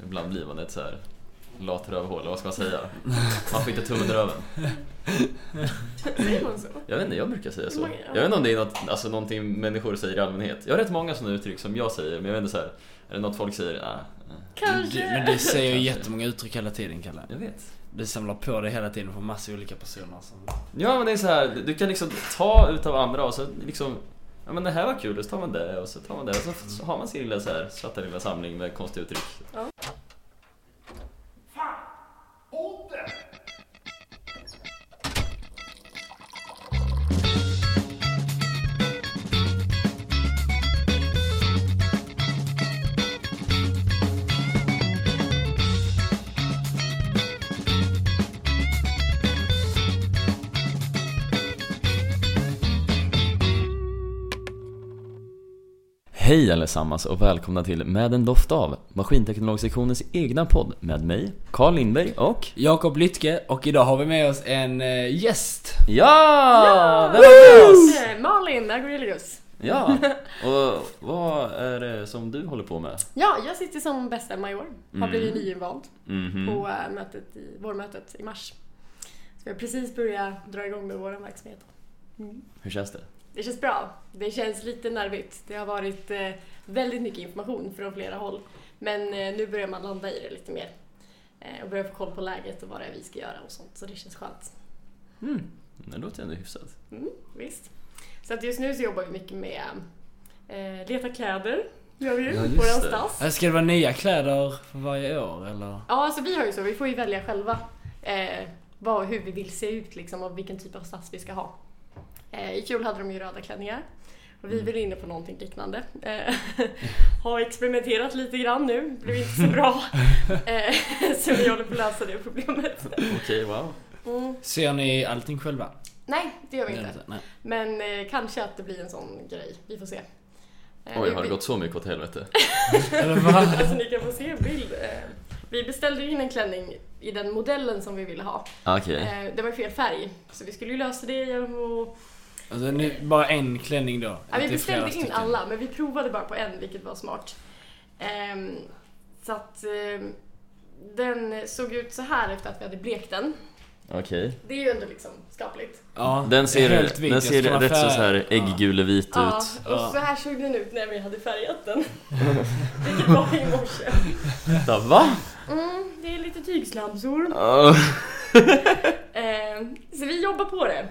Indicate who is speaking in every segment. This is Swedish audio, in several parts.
Speaker 1: ibland blir man ett så här lat rövhål, eller vad ska man säga? Man får inte tummen i röven.
Speaker 2: Säger man så?
Speaker 1: Jag vet inte, jag brukar säga så.
Speaker 2: Hur många-
Speaker 1: Jag vet inte om det är något, alltså, någonting människor säger i allmänhet. Jag har rätt många sådana uttryck som jag säger, men jag vet inte så här. Är det något folk säger? Ah, eh,
Speaker 2: Kanske.
Speaker 3: Du, men du säger ju
Speaker 1: Kanske.
Speaker 3: jättemånga uttryck hela tiden Kalle.
Speaker 1: jag vet.
Speaker 3: Du samlar på dig hela tiden från massa olika personer som...
Speaker 1: Ja men det är så här, du kan liksom ta utav andra och så liksom Ja men det här var kul, och så tar man det och så tar man det och så, så har man sin lilla så här söta lilla samling med konstiga uttryck. Hej allesammans och välkomna till Med en doft av Maskinteknologsektionens egna podd med mig, Carl Lindberg och
Speaker 3: Jakob Lytke och idag har vi med oss en eh, gäst.
Speaker 1: Ja! Vem är med oss?
Speaker 2: Eh, Malin Agrelius.
Speaker 1: Ja! Och vad är det som du håller på med?
Speaker 2: Ja, jag sitter som bästa major. Har
Speaker 1: Mm.
Speaker 2: blivit nyinvald
Speaker 1: Mhm.
Speaker 3: Mm.
Speaker 2: på eh, mötet i, vårmötet i mars. Så jag har precis börjat dra igång med vår verksamhet.
Speaker 1: Hur känns det?
Speaker 2: Det känns bra. Det känns lite nervigt. Det har varit eh, väldigt mycket information från flera håll. Men eh, nu börjar man landa i det lite mer. Eh, och börjar få koll på läget och vad det är vi ska göra och sånt. Så det känns skönt.
Speaker 1: Mm. Det låter ändå hyfsat.
Speaker 2: Mm, visst. Så att just nu så jobbar vi mycket med eh, leta kläder. Gör vi ju.
Speaker 1: Ja,
Speaker 2: Ja,
Speaker 1: just
Speaker 2: på
Speaker 1: det.
Speaker 2: Rastas.
Speaker 3: Eh, Ska det vara nya kläder för varje år eller?
Speaker 2: Ja, alltså vi har ju så. Vi får ju välja själva eh, vad, hur vi vill se ut liksom, och vilken typ av stads vi ska ha. Eh, I fjol hade de ju röda klänningar. Och
Speaker 1: Mm.
Speaker 2: vi vill inne på någonting liknande. Eh, har experimenterat lite grann nu, blev inte så bra. Eh, så vi håller på att lösa det problemet.
Speaker 1: Okej, wow.
Speaker 2: Mm.
Speaker 3: Ser ni allting själva?
Speaker 2: Nej, det gör vi inte.
Speaker 3: Nej.
Speaker 2: Men eh, kanske att det blir en sån grej. Vi får se. Eh,
Speaker 1: Oj,
Speaker 2: vi-
Speaker 1: har det gått så mycket åt helvete?
Speaker 3: Eller va?
Speaker 2: Alltså ni kan få se en bild. Eh, Vi beställde ju in en klänning i den modellen som vi ville ha.
Speaker 1: Okej.
Speaker 2: Eh, Det var ju fel färg, så vi skulle ju lösa det genom att...
Speaker 3: Alltså nu, bara en klänning då?
Speaker 2: Ja, vi
Speaker 3: inte flera
Speaker 2: beställde in
Speaker 3: stycken.
Speaker 2: alla, men vi provade bara på en, vilket var smart. Ehm, Så att ehm, den såg ut så här efter att vi hade blekt den.
Speaker 1: Okej.
Speaker 2: Det är ju ändå liksom skapligt.
Speaker 3: Ja,
Speaker 1: Den
Speaker 3: helt
Speaker 1: ser,
Speaker 3: vit.
Speaker 1: den
Speaker 3: Jag
Speaker 1: ser
Speaker 3: ska ha
Speaker 1: rätt så,
Speaker 3: färg.
Speaker 1: så här ägggulevit
Speaker 2: Ja,
Speaker 1: ut.
Speaker 2: och
Speaker 3: Ja.
Speaker 2: så här såg den ut när vi hade färgat den. vilket var i morse.
Speaker 1: Vänta, va?
Speaker 2: Mm, det är lite tygslamsor.
Speaker 1: Ah,
Speaker 2: Ehm, Så vi jobbar på det.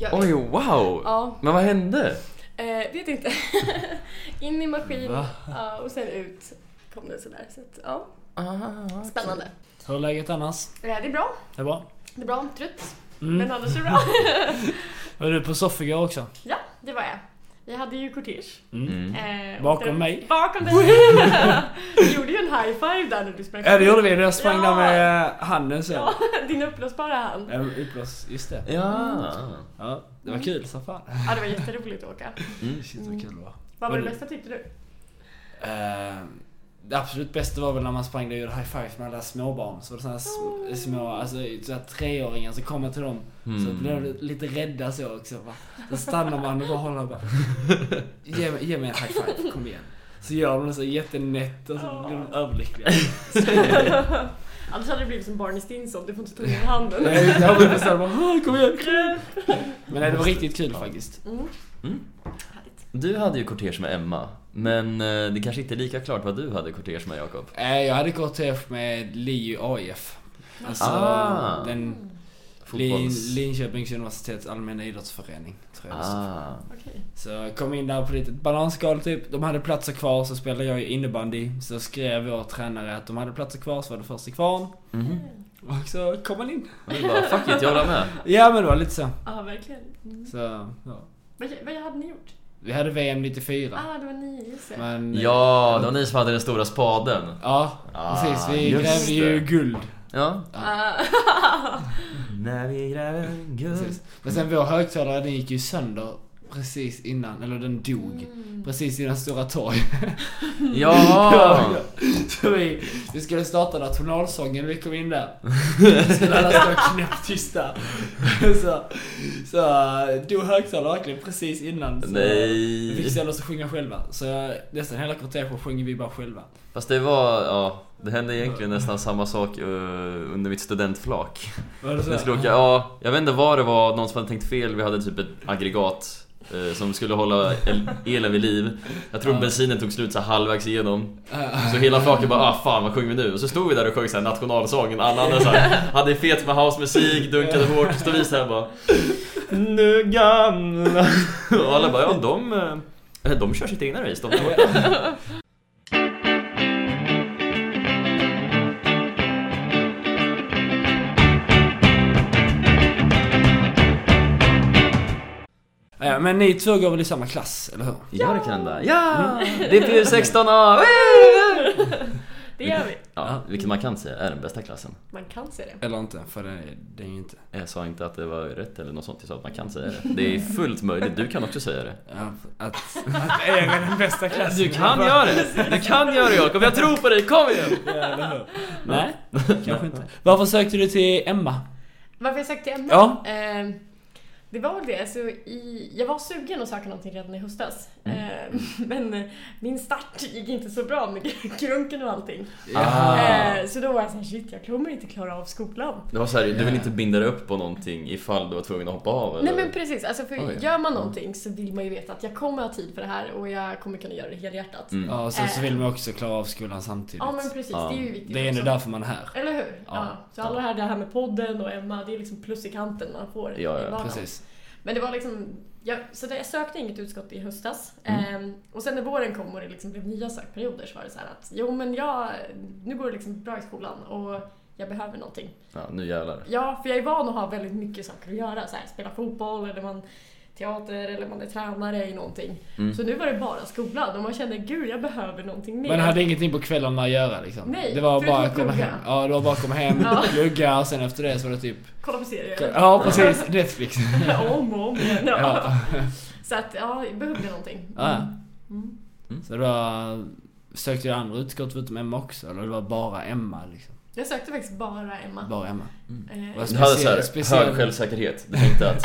Speaker 2: Jag-
Speaker 1: Oj, wow!
Speaker 2: Ja,
Speaker 1: Men vad hände?
Speaker 2: Eh, vet inte. In i maskin
Speaker 3: Va?
Speaker 2: ja, och sen ut kom det sådär. Så att, ja,
Speaker 1: Ah,
Speaker 2: spännande.
Speaker 3: Hur är läget annars?
Speaker 2: Eh, det är bra.
Speaker 3: Det är bra?
Speaker 2: Det är bra. Trött.
Speaker 3: Mm.
Speaker 2: Men annars är det bra.
Speaker 3: Var du på soff igår också?
Speaker 2: ja, det var jag. Vi hade ju kortege.
Speaker 3: Mm.
Speaker 1: Mm.
Speaker 2: Eh, och
Speaker 3: Bakom
Speaker 2: den-
Speaker 3: mig.
Speaker 2: Bakom dig. Vi gjorde ju en high five där när du sprang.
Speaker 3: Ja det gjorde vi, jag sprang
Speaker 2: Ja.
Speaker 3: där med eh, handen så.
Speaker 2: Ja, din uppblåsbara hand.
Speaker 3: Ja. Uppblås, just det.
Speaker 1: Ja.
Speaker 3: Ja, det var kul som fan.
Speaker 2: Ja, det var jätteroligt att åka.
Speaker 1: Mm.
Speaker 3: Shit vad kul det var.
Speaker 2: Vad var det
Speaker 3: Mm.
Speaker 2: bästa tyckte du?
Speaker 3: Eh, det absolut bästa var väl när man sprang där och gjorde high five med alla småbarn. Så var det såna här sm- små, alltså så här treåringar så kommer till dem. Så
Speaker 1: Mm.
Speaker 3: blev de lite rädda så också. Va? Så stannar man och bara håller och bara. Ge, mig- ge mig en high five, kom igen. Så gör de det så jättenätt och så blir de överlyckliga.
Speaker 2: Annars hade det blivit som Barney Stinson, du får inte ta ner handen.
Speaker 3: Nej, Jag var bestämd bara, "Ah, kom igen. Men nej, det var riktigt kul faktiskt.
Speaker 2: Mm.
Speaker 1: Mm.
Speaker 2: Härligt.
Speaker 1: Du hade ju kortege med Emma, men eh, det kanske inte är lika klart vad du hade kortege med Jakob.
Speaker 3: Eh, Jag hade kortege med LiU AIF. Alltså
Speaker 1: Ah.
Speaker 3: den
Speaker 2: Mm,
Speaker 3: Lin,
Speaker 1: Fotbolls...
Speaker 3: Linköpings universitets allmänna idrottsförening. Tror jag.
Speaker 1: Ah.
Speaker 2: Okej.
Speaker 3: Så jag kom in där på lite bananskal typ. De hade platser kvar så spelade jag ju innebandy. Så skrev vår tränare att de hade platser kvar så var det först i kvarn.
Speaker 1: Mhm.
Speaker 3: Och så kom man in.
Speaker 1: Och du bara, fuck it, jag håller med.
Speaker 3: Ja men det var lite så.
Speaker 2: Ja, verkligen. Mm.
Speaker 3: så ja.
Speaker 2: Vad, vad hade ni gjort?
Speaker 3: Vi hade VM 94.
Speaker 2: Ah, det var ni, just det.
Speaker 3: Men, eh,
Speaker 1: Ja, det var ni som hade den stora spaden.
Speaker 3: Ja,
Speaker 1: Ah,
Speaker 3: precis. Vi
Speaker 1: just
Speaker 3: grävde ju
Speaker 1: det.
Speaker 3: guld.
Speaker 1: Ja.
Speaker 2: Ah.
Speaker 1: När vi gräver guld.
Speaker 3: Precis. Men sen vår högtalare den gick ju sönder precis innan, eller den
Speaker 2: Mm.
Speaker 3: dog. Precis innan Stora Torg.
Speaker 1: Ja!
Speaker 3: Så vi, Vi skulle starta nationalsången, vi kom in där. Så skulle alla stå knäpptysta. Så, så dog högtalaren verkligen precis innan. Så
Speaker 1: Nej.
Speaker 3: Vi fick ställa oss och sjunga själva. Så nästan hela kvarteret sjöng vi bara själva.
Speaker 1: Fast det var, ja, det hände egentligen nästan samma sak eh, under mitt studentflak.
Speaker 3: Var det så?
Speaker 1: Jag, skulle åka, ja, jag vet inte vad det var, någon som hade tänkt fel. Vi hade typ ett aggregat eh, som skulle hålla el- elen vid liv. Jag tror
Speaker 3: Ja.
Speaker 1: bensinen tog slut så här halvvägs igenom.
Speaker 3: Ja.
Speaker 1: Så hela flaket bara ah fan vad sjunger vi nu? Och så stod vi där och sjöng så här nationalsången. Alla andra så här, hade fet med housemusik, dunkade hårt. Så stod vi så här bara Nu gamla. Och alla bara ja de, eh, de kör sitt egna race. De där borta."
Speaker 3: Ja, Men ni två går väl i samma klass, eller hur?
Speaker 1: Ja det kan hända. Ja! Det blir 16A!
Speaker 2: Det gör vi.
Speaker 1: Ja, vilket man kan säga är den bästa klassen.
Speaker 2: Man kan se det.
Speaker 3: Eller inte, för det, det är ju inte.
Speaker 1: Jag sa inte att det var rätt eller något sånt, jag sa att man kan säga det. Det är fullt möjligt, du kan också säga det.
Speaker 3: Ja, att, att är den bästa klassen.
Speaker 1: Du kan göra det! Du kan göra det Jakob, jag tror på dig, kom igen!
Speaker 3: Ja, eller hur? Nej, kanske inte. Varför sökte du till Emma?
Speaker 2: Varför jag sökte till Emma?
Speaker 3: Ja.
Speaker 2: Eh, det var väl det. Så i, jag var sugen att söka någonting redan i höstas.
Speaker 1: Mm.
Speaker 2: Eh, men eh, min start gick inte så bra med grunken och allting.
Speaker 1: Ah.
Speaker 2: Eh, så då var jag såhär, shit jag kommer inte klara av skolan.
Speaker 1: Det var så här, du vill inte binda dig upp på någonting ifall du var tvungen att hoppa av eller?
Speaker 2: Nej men precis, alltså för
Speaker 1: Oj. Mm.
Speaker 2: gör man någonting så vill man ju veta att jag kommer ha tid för det här och jag kommer kunna göra det helhjärtat.
Speaker 1: Mm.
Speaker 3: Ja, och sen så vill man också klara av skolan samtidigt.
Speaker 2: Eh, Ja men precis,
Speaker 1: Ja.
Speaker 2: det är ju viktigt
Speaker 3: Det är ändå
Speaker 2: också.
Speaker 3: därför man är här.
Speaker 2: Eller hur?
Speaker 3: Ja.
Speaker 2: Ja. Så alla det här, det här med podden och Emma, det är liksom plus i kanten man får
Speaker 1: Ja,
Speaker 2: i
Speaker 1: ja,
Speaker 2: vardagen.
Speaker 3: Precis.
Speaker 2: Men det var liksom, jag, så det, jag sökte inget utskott i höstas.
Speaker 1: Mm.
Speaker 2: Ehm, och sen när våren kom och det liksom blev nya sökperioder så var det så här att jo men jag, nu går det liksom bra i skolan och jag behöver någonting.
Speaker 1: Ja, nu jävlar.
Speaker 2: Ja, för jag är van att ha väldigt mycket saker att göra. Så här, spela fotboll eller man teater eller man är tränare i någonting.
Speaker 1: Mm.
Speaker 3: Mm.
Speaker 2: Så nu var det bara skolan och man kände gud jag behöver någonting mer.
Speaker 3: Man hade ingenting på kvällarna att göra liksom.
Speaker 2: Nej,
Speaker 3: det var
Speaker 2: förutom
Speaker 3: bara
Speaker 2: att
Speaker 3: att komma
Speaker 2: plugga.
Speaker 3: hem. Ja, det var bara att komma hem,
Speaker 2: Ja.
Speaker 3: plugga och sen efter det så var det typ...
Speaker 2: Kolla på serier.
Speaker 3: Ja, precis. Netflix.
Speaker 2: om och om igen. Ja.
Speaker 3: Ja.
Speaker 2: Så att ja, jag behövde någonting.
Speaker 3: ja.
Speaker 2: Mm.
Speaker 3: Så då sökte jag andra utskott förutom Emma också. Eller det var bara Emma liksom.
Speaker 2: Jag sökte faktiskt bara Emma.
Speaker 3: Bara Emma.
Speaker 2: Eh,
Speaker 3: Vad
Speaker 1: Du hade så här,
Speaker 3: Speciell-
Speaker 1: hög självsäkerhet. Du tänkte att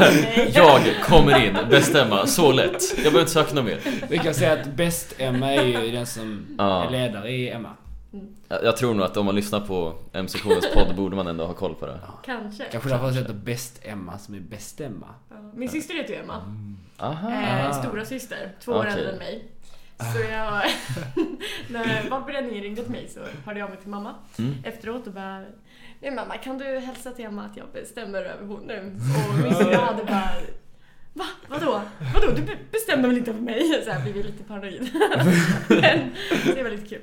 Speaker 2: nej.
Speaker 1: jag kommer in, bestämma, så lätt. Jag behöver inte söka något mer.
Speaker 3: Vi kan säga att bäst-Emma är ju den som
Speaker 1: Ja.
Speaker 3: är ledare i Emma.
Speaker 1: Jag jag tror nog att om man lyssnar på MC-showens podd borde man ändå ha koll på det.
Speaker 2: Kanske.
Speaker 3: Kanske därför jag heter bäst-Emma som är bäst-Emma.
Speaker 2: Ja. Min syster heter ju Emma.
Speaker 1: Aha.
Speaker 2: Eh,
Speaker 3: Ah.
Speaker 2: stora syster, två år
Speaker 1: Okej.
Speaker 2: äldre än mig. Så jag, när valberedningen ringde till mig så hörde jag av mig till mamma
Speaker 1: Mm.
Speaker 2: efteråt och bara Nej mamma, kan du hälsa till Emma att jag bestämmer över hon nu? Och min syrra hade bara Va? Vadå? Vadå? Du be- bestämmer väl inte över mig? Så här blev jag lite paranoid. Men det var lite kul.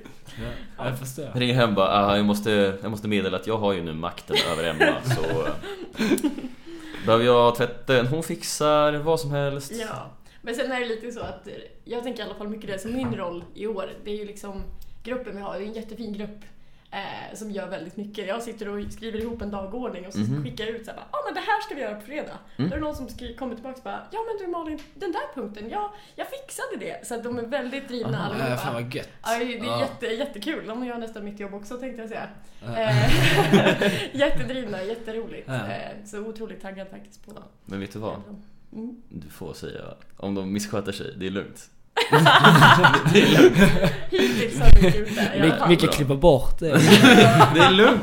Speaker 3: Ja, jag förstår.
Speaker 1: Jag ringer hem bara, "Ah, jag måste, jag måste meddela att jag har ju nu makten över Emma så... eh, Behöver jag tvätten, hon fixar vad som helst.
Speaker 2: Ja. Men sen är det lite så att jag tänker i alla fall mycket det som min roll i år. Det är ju liksom gruppen vi har, det är en jättefin grupp eh, som gör väldigt mycket. Jag sitter och skriver ihop en dagordning och så
Speaker 1: Mhm.
Speaker 2: skickar jag ut så här, bara, ah, men det här ska vi göra på fredag.
Speaker 1: Mm.
Speaker 2: Då är det någon som skri- kommer tillbaka och bara, ja men du Malin, den där punkten, ja, jag fixade det. Så att de är väldigt drivna
Speaker 3: Äh, fan
Speaker 2: allihopa.
Speaker 3: vad gött.
Speaker 2: Ja, det är
Speaker 3: Ja.
Speaker 2: jätte, jättekul. De gör nästan mitt jobb också tänkte jag säga.
Speaker 3: Ja.
Speaker 2: Eh, Jättedrivna, jätteroligt.
Speaker 3: Ja.
Speaker 2: Eh, Så otroligt taggad faktiskt på
Speaker 1: Men vet du vad?
Speaker 2: Mm.
Speaker 1: Du får säga, om de missköter sig, det är lugnt.
Speaker 2: Hittills har vi inte gjort det. i alla
Speaker 3: Mik-
Speaker 2: fall.
Speaker 1: Mik-
Speaker 3: Micke klipper bort det.
Speaker 1: Det är lugnt,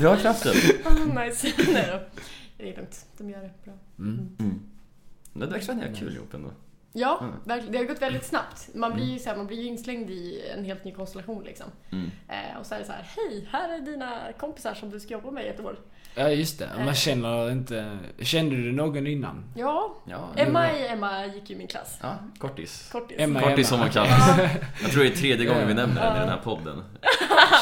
Speaker 1: jag har kraften.
Speaker 2: Ah, nice. Nej då. Det är lugnt. De gör det bra.
Speaker 3: Mm.
Speaker 1: Men Det verkar som att ni har kul ihop ändå.
Speaker 2: Ja,
Speaker 1: Mm.
Speaker 2: verkligen. det har gått väldigt snabbt. Man blir ju, så här, man blir ju inslängd i en helt ny konstellation liksom.
Speaker 1: Mm.
Speaker 2: Eh, och så är det så här, hej, här är dina kompisar som du ska jobba med i ett år.
Speaker 3: Ja just det, man känner inte... Kände du någon innan?
Speaker 2: Ja,
Speaker 1: Ja,
Speaker 2: Emma i Emma gick ju i min klass.
Speaker 1: ja, kortis.
Speaker 2: Kortis.
Speaker 3: Emma.
Speaker 1: Kortis som man kallas. Jag tror det är tredje gången vi nämner den i den här podden.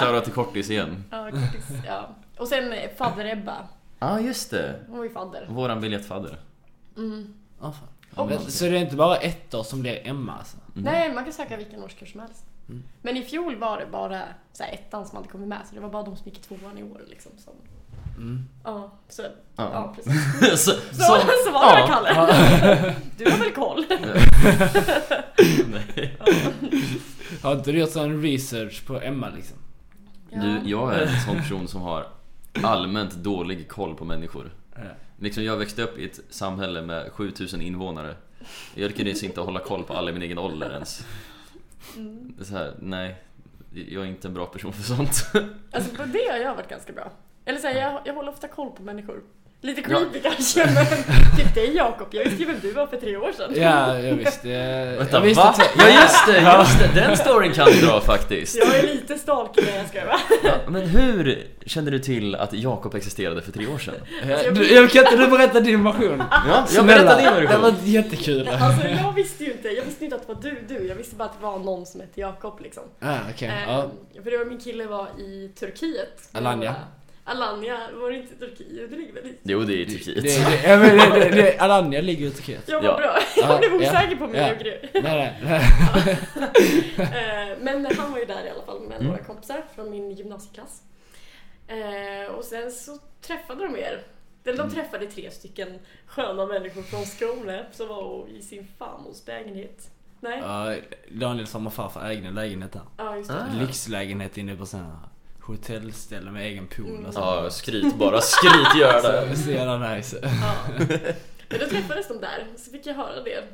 Speaker 1: Shoutout till kortis igen.
Speaker 2: Ja, kortis. Ja. Och sen eh, fadder Ebba.
Speaker 1: Ja, ah, just det.
Speaker 2: Hon var ju fadder.
Speaker 1: Våran biljettfadder.
Speaker 2: Mm.
Speaker 3: Ja, fan.
Speaker 1: Ja, men-
Speaker 3: Men, så det är inte bara ettor som blir Emma alltså?
Speaker 2: Nej, man kan söka vilken årskurs som helst.
Speaker 1: Mm.
Speaker 2: Men i fjol var det bara så här, ettan som hade kommit med, så det var bara de som gick i tvåan i år liksom. Som...
Speaker 3: Mm.
Speaker 2: Ja, så, ja.
Speaker 1: Ja.
Speaker 2: precis.
Speaker 1: Så,
Speaker 2: Så,
Speaker 1: som-
Speaker 2: så var det
Speaker 1: ja.
Speaker 2: Kalle. Du har väl koll?
Speaker 1: Nej.
Speaker 3: Har inte du gjort sån research på Emma liksom?
Speaker 2: Ja.
Speaker 1: Du, jag är en sån person som har allmänt dålig koll på människor. Liksom jag växte upp i ett samhälle med 7000 invånare. Jag lyckades inte hålla koll på alla i min egen ålder ens.
Speaker 2: Mm.
Speaker 1: Det är Så här, nej. Jag är inte en bra person för sånt.
Speaker 2: Alltså på det har jag varit ganska bra. Eller såhär, jag, jag håller ofta koll på människor. Lite creepy kanske men typ dig Jakob, jag visste ju vem du var för tre år sedan.
Speaker 3: Ja, jag visste. Jag,
Speaker 1: Vänta,
Speaker 3: visste
Speaker 1: va?
Speaker 3: att-
Speaker 1: Ja just det, just det! Den storyn kan du dra faktiskt.
Speaker 2: Jag är lite stalker när jag ska va?
Speaker 1: Ja, men hur kände du till att Jakob existerade för tre år sedan?
Speaker 3: Du, jag kan inte du berätta din version?
Speaker 1: Ja, jag
Speaker 3: Snälla,
Speaker 1: berättade din
Speaker 3: Det
Speaker 1: version.
Speaker 3: var jättekul.
Speaker 2: Alltså jag visste ju inte, jag visste inte att det var du, du. Jag visste bara att det var någon som hette Jakob liksom.
Speaker 3: Ah, okej. Ja.
Speaker 2: Ehm, För det var min kille var i Turkiet. eh,
Speaker 3: Alanya.
Speaker 2: Alanya, var det inte Turkiet? Det ligger väl i...
Speaker 1: Jo, det är i
Speaker 3: Det,
Speaker 1: Turkiet.
Speaker 3: det, ja, men det, det, det, Alanya ligger i Turkiet.
Speaker 2: Jag var
Speaker 1: Ja.
Speaker 2: bra, jag blev
Speaker 3: Ja, ja,
Speaker 2: osäker på mig
Speaker 3: ja.
Speaker 2: och grejer.
Speaker 3: Nej, nej, nej.
Speaker 2: Eh, Men han var ju där i alla fall med några kompisar från min gymnasieklass. Eh, Och sen så träffade de er. Eller de träffade tre stycken sköna människor från Skåne som var i sin farmors lägenhet. Nej? Ja,
Speaker 3: Ja, Daniels farmor och farfar ägde en lägenhet där.
Speaker 2: just det.
Speaker 1: Ah.
Speaker 3: Lyxlägenhet inne på sådana här hotellställe med egen pool och så.
Speaker 1: Ja, skryt bara. Skryt gör
Speaker 2: Alltså,
Speaker 3: Så,
Speaker 1: det.
Speaker 3: Alltså, så jävla nice.
Speaker 2: Ja. Men då träffades de där, så fick jag höra det.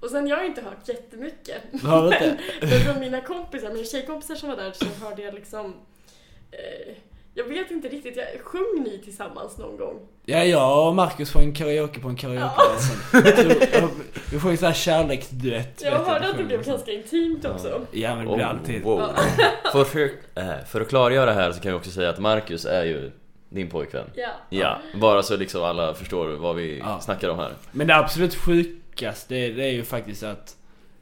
Speaker 2: Och sen, jag har ju inte hört jättemycket.
Speaker 3: Har du inte?
Speaker 2: Men från mina kompisar, mina tjejkompisar som var där så hörde jag liksom... Eh, jag vet inte riktigt, jag sjöng ni tillsammans någon gång?
Speaker 3: Ja, jag och Marcus på en karaoke på en karaoke sen. Jag tror- Vi sjöng såhär kärleksduett.
Speaker 2: Jag
Speaker 3: vet
Speaker 2: hörde
Speaker 3: vi
Speaker 2: att det
Speaker 3: sjöng
Speaker 2: blev
Speaker 3: liksom.
Speaker 2: ganska intimt också.
Speaker 3: Ja men det blir alltid.
Speaker 1: Oh, wow. för, för, eh, för att klargöra här så kan jag också säga att Marcus är ju din pojkvän.
Speaker 2: Ja.
Speaker 1: Ja, bara så liksom alla förstår vad vi
Speaker 3: Ja.
Speaker 1: snackar om här.
Speaker 3: Men det absolut sjukaste det, det är ju faktiskt att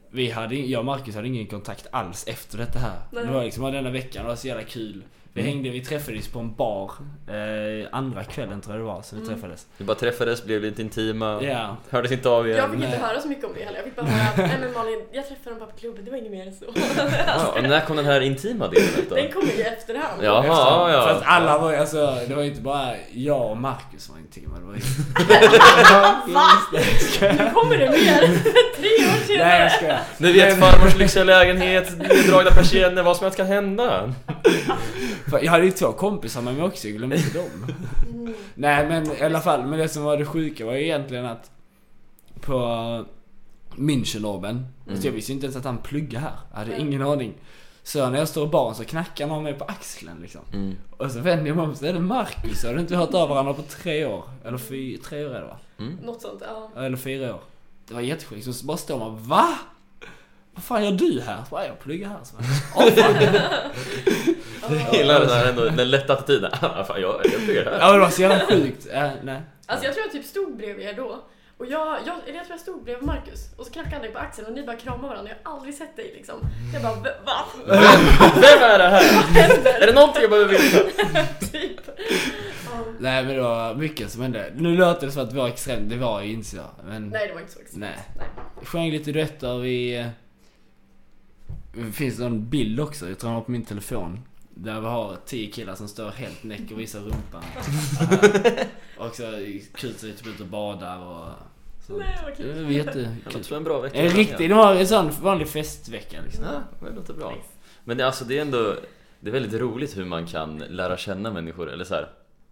Speaker 3: vi hade, in- jag och Marcus hade ingen kontakt alls efter detta här.
Speaker 2: Nej.
Speaker 3: Det var liksom bara denna veckan, det var så jävla kul. Vi
Speaker 1: Mm.
Speaker 3: hängde, vi träffades på en bar eh, andra kvällen tror jag det var, så vi
Speaker 2: Mm.
Speaker 3: träffades.
Speaker 1: Vi bara träffades, blev lite intima,
Speaker 3: Ja.
Speaker 1: hördes inte av
Speaker 2: Jag
Speaker 1: igen.
Speaker 2: fick inte
Speaker 3: Nej.
Speaker 2: höra så mycket om det heller. Jag fick bara höra att, nej men Malin, jag träffade dem bara på klubben, det var inget mer än så.
Speaker 1: Ja, och när kom den här intima delen ut då?
Speaker 2: Den kommer ju i efterhand.
Speaker 1: Jaha,
Speaker 3: Efterhand.
Speaker 1: Alltså. ja.
Speaker 3: Fast alla var ju, alltså det var ju inte bara jag och Marcus var intima. Det var ju...
Speaker 2: Ah, Va? Mm. Nu kommer det mer! Tre år senare!
Speaker 3: Nej jag skojar.
Speaker 1: Ni vet farmors lyxiga lägenhet, neddragna persienner, vad som helst kan hända.
Speaker 3: Fan, Jag hade ju två kompisar med mig också, jag glömde inte dem.
Speaker 2: Mm,
Speaker 3: Nej men i alla fall, men det som var det sjuka var ju egentligen att på Münchenloben, så jag visste ju inte ens att han pluggade här. Jag hade ingen aning. Så när jag står i baren så knackar någon mig på axeln liksom.
Speaker 1: Mm.
Speaker 3: Och så vänder jag mig om så är det Marcus, har du inte hört av varandra på tre år? Eller fy, tre år är det va?
Speaker 1: Mm.
Speaker 2: Något sånt, ja.
Speaker 3: Eller fyra år. Det var jättesjukt, så bara står man VA? Vad fan gör du här? Så bara, jag pluggar här. Så bara, "Åh, fan."
Speaker 1: Jag gillar den här ändå, den lätta attityden. Ah, fan, jag, jag pluggar här.
Speaker 3: Ja men det var så jävla sjukt. Äh, nej.
Speaker 2: Alltså jag tror jag typ stod bredvid er då. Och jag, jag, eller jag tror jag stod bredvid Marcus och så knackade han dig på axeln och ni bara kramade varandra. Jag har aldrig sett dig liksom. Jag bara "V- va?
Speaker 1: Vem är det här?
Speaker 2: Vad händer?
Speaker 1: Är det någonting jag behöver veta?
Speaker 2: typ. Ja.
Speaker 3: Nej men det var mycket som hände. Nu låter det som att det var extremt, det var ju inte så.
Speaker 1: Mm.
Speaker 3: Men
Speaker 2: Nej det var inte så extremt.
Speaker 3: nej.
Speaker 2: Nej.
Speaker 3: Sjöng lite duetter, vi... eh, Det finns någon bild också, jag tror den var på min telefon. Där vi har tio killar som står helt näck och visar rumpan. Eh, och så kutar vi typ ut och badar och... Så.
Speaker 2: Nej vad
Speaker 3: Det
Speaker 2: kul.
Speaker 3: var
Speaker 1: Det
Speaker 3: jättekul.
Speaker 1: låter som en bra vecka.
Speaker 3: En riktig, det var en sån vanlig festvecka liksom.
Speaker 1: Ja, det låter bra. Men det, alltså, det är ändå det är väldigt roligt hur man kan lära känna människor, eller så här,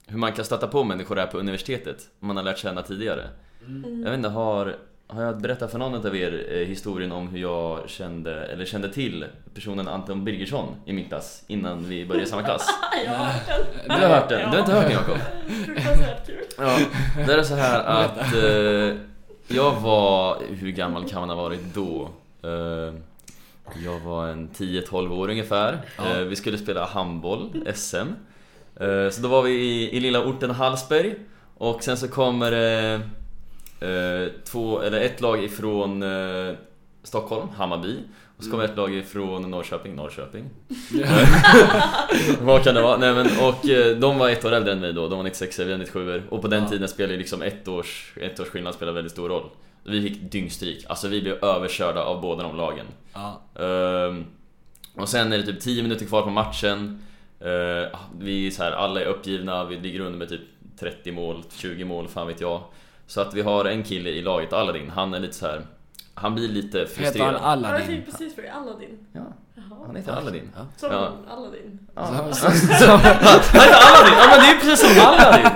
Speaker 1: hur man kan stöta på människor här på universitetet, om man har lärt känna tidigare.
Speaker 2: Mm.
Speaker 1: Jag vet inte, har, har jag berättat för någon av er eh, historien om hur jag kände, eller kände till personen Anton Birgersson i min klass innan vi började i samma klass?
Speaker 2: Ah, jag har hört den.
Speaker 1: Du har hört den? Du har inte hört den Jakob?
Speaker 2: Fruktansvärt kul.
Speaker 1: Ja, det är så här att eh, jag var, hur gammal kan man ha varit då? Eh, jag var en 10-12 år ungefär. Eh, vi skulle spela handboll, SM. Eh, så då var vi i, i lilla orten Hallsberg och sen så kommer det eh, två, eller ett lag ifrån eh, Stockholm, Hammarby. Och så kommer ett lag ifrån Norrköping, Norrköping. Vad kan det vara? Nej men och eh, de var ett år äldre än mig då, de var 96 vi var 97 och på den
Speaker 3: Ja.
Speaker 1: tiden spelade ju liksom ett års, ett års skillnad spelade väldigt stor roll. Vi fick dyngstryk, alltså vi blev överkörda av båda de lagen.
Speaker 3: Ja.
Speaker 1: Ehm, och sen är det typ 10 minuter kvar på matchen. Ehm, vi är så här, alla är uppgivna, vi ligger under med typ 30 mål, 20 mål, fan vet jag. Så att vi har en kille i laget, Aladdin, han är lite så här. Han blir lite
Speaker 3: Heter han
Speaker 1: frustrerad.
Speaker 2: Ja, jag tänkte
Speaker 3: Aladdin?
Speaker 2: precis på det. Aladdin.
Speaker 1: Ja,
Speaker 2: Jaha.
Speaker 1: han heter Aladdin.
Speaker 3: Ja.
Speaker 2: Som
Speaker 1: Ja.
Speaker 2: Aladdin.
Speaker 1: Ja.
Speaker 3: Som, som,
Speaker 1: Han heter Aladdin! Ja men det är ju precis som Aladdin!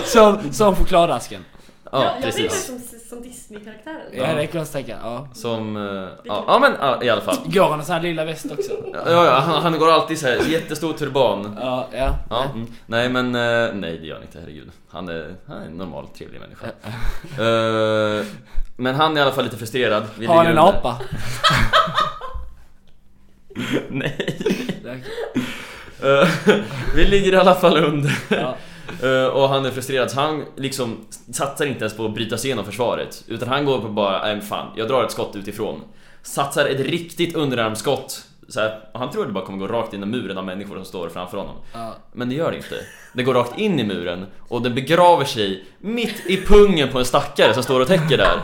Speaker 2: typ-
Speaker 3: som, som chokladasken.
Speaker 1: Ja,
Speaker 2: jag tänkte
Speaker 1: precis.
Speaker 2: som, som Disney-karaktären.
Speaker 3: Ja, det är konstigt ja.
Speaker 1: Som... eh, Ja, ja men ja, i alla fall.
Speaker 3: Går han i sån här lilla väst också?
Speaker 1: Ja, ja, han, han går alltid så här jättestor turban.
Speaker 3: Ja, ja.
Speaker 1: Ja, mm. nej men eh, nej det gör han inte, herregud. Han är, han är en normal trevlig människa. Eh, men han är i alla fall lite frustrerad. Vi
Speaker 3: Har han en
Speaker 1: ligger under.
Speaker 3: apa?
Speaker 1: Nej. Eh, vi ligger i alla fall under.
Speaker 3: Ja.
Speaker 1: Eh, och han är frustrerad så han liksom satsar inte ens på att bryta sig igenom försvaret. Utan han går på bara, nej men fan, jag drar ett skott utifrån. Satsar ett riktigt underarmsskott. Så här, och han tror det bara kommer gå rakt in i muren av människor som står framför honom.
Speaker 3: Ja.
Speaker 1: Men det gör det inte. Den går rakt in i muren och den begraver sig mitt i pungen på en stackare som står och täcker där.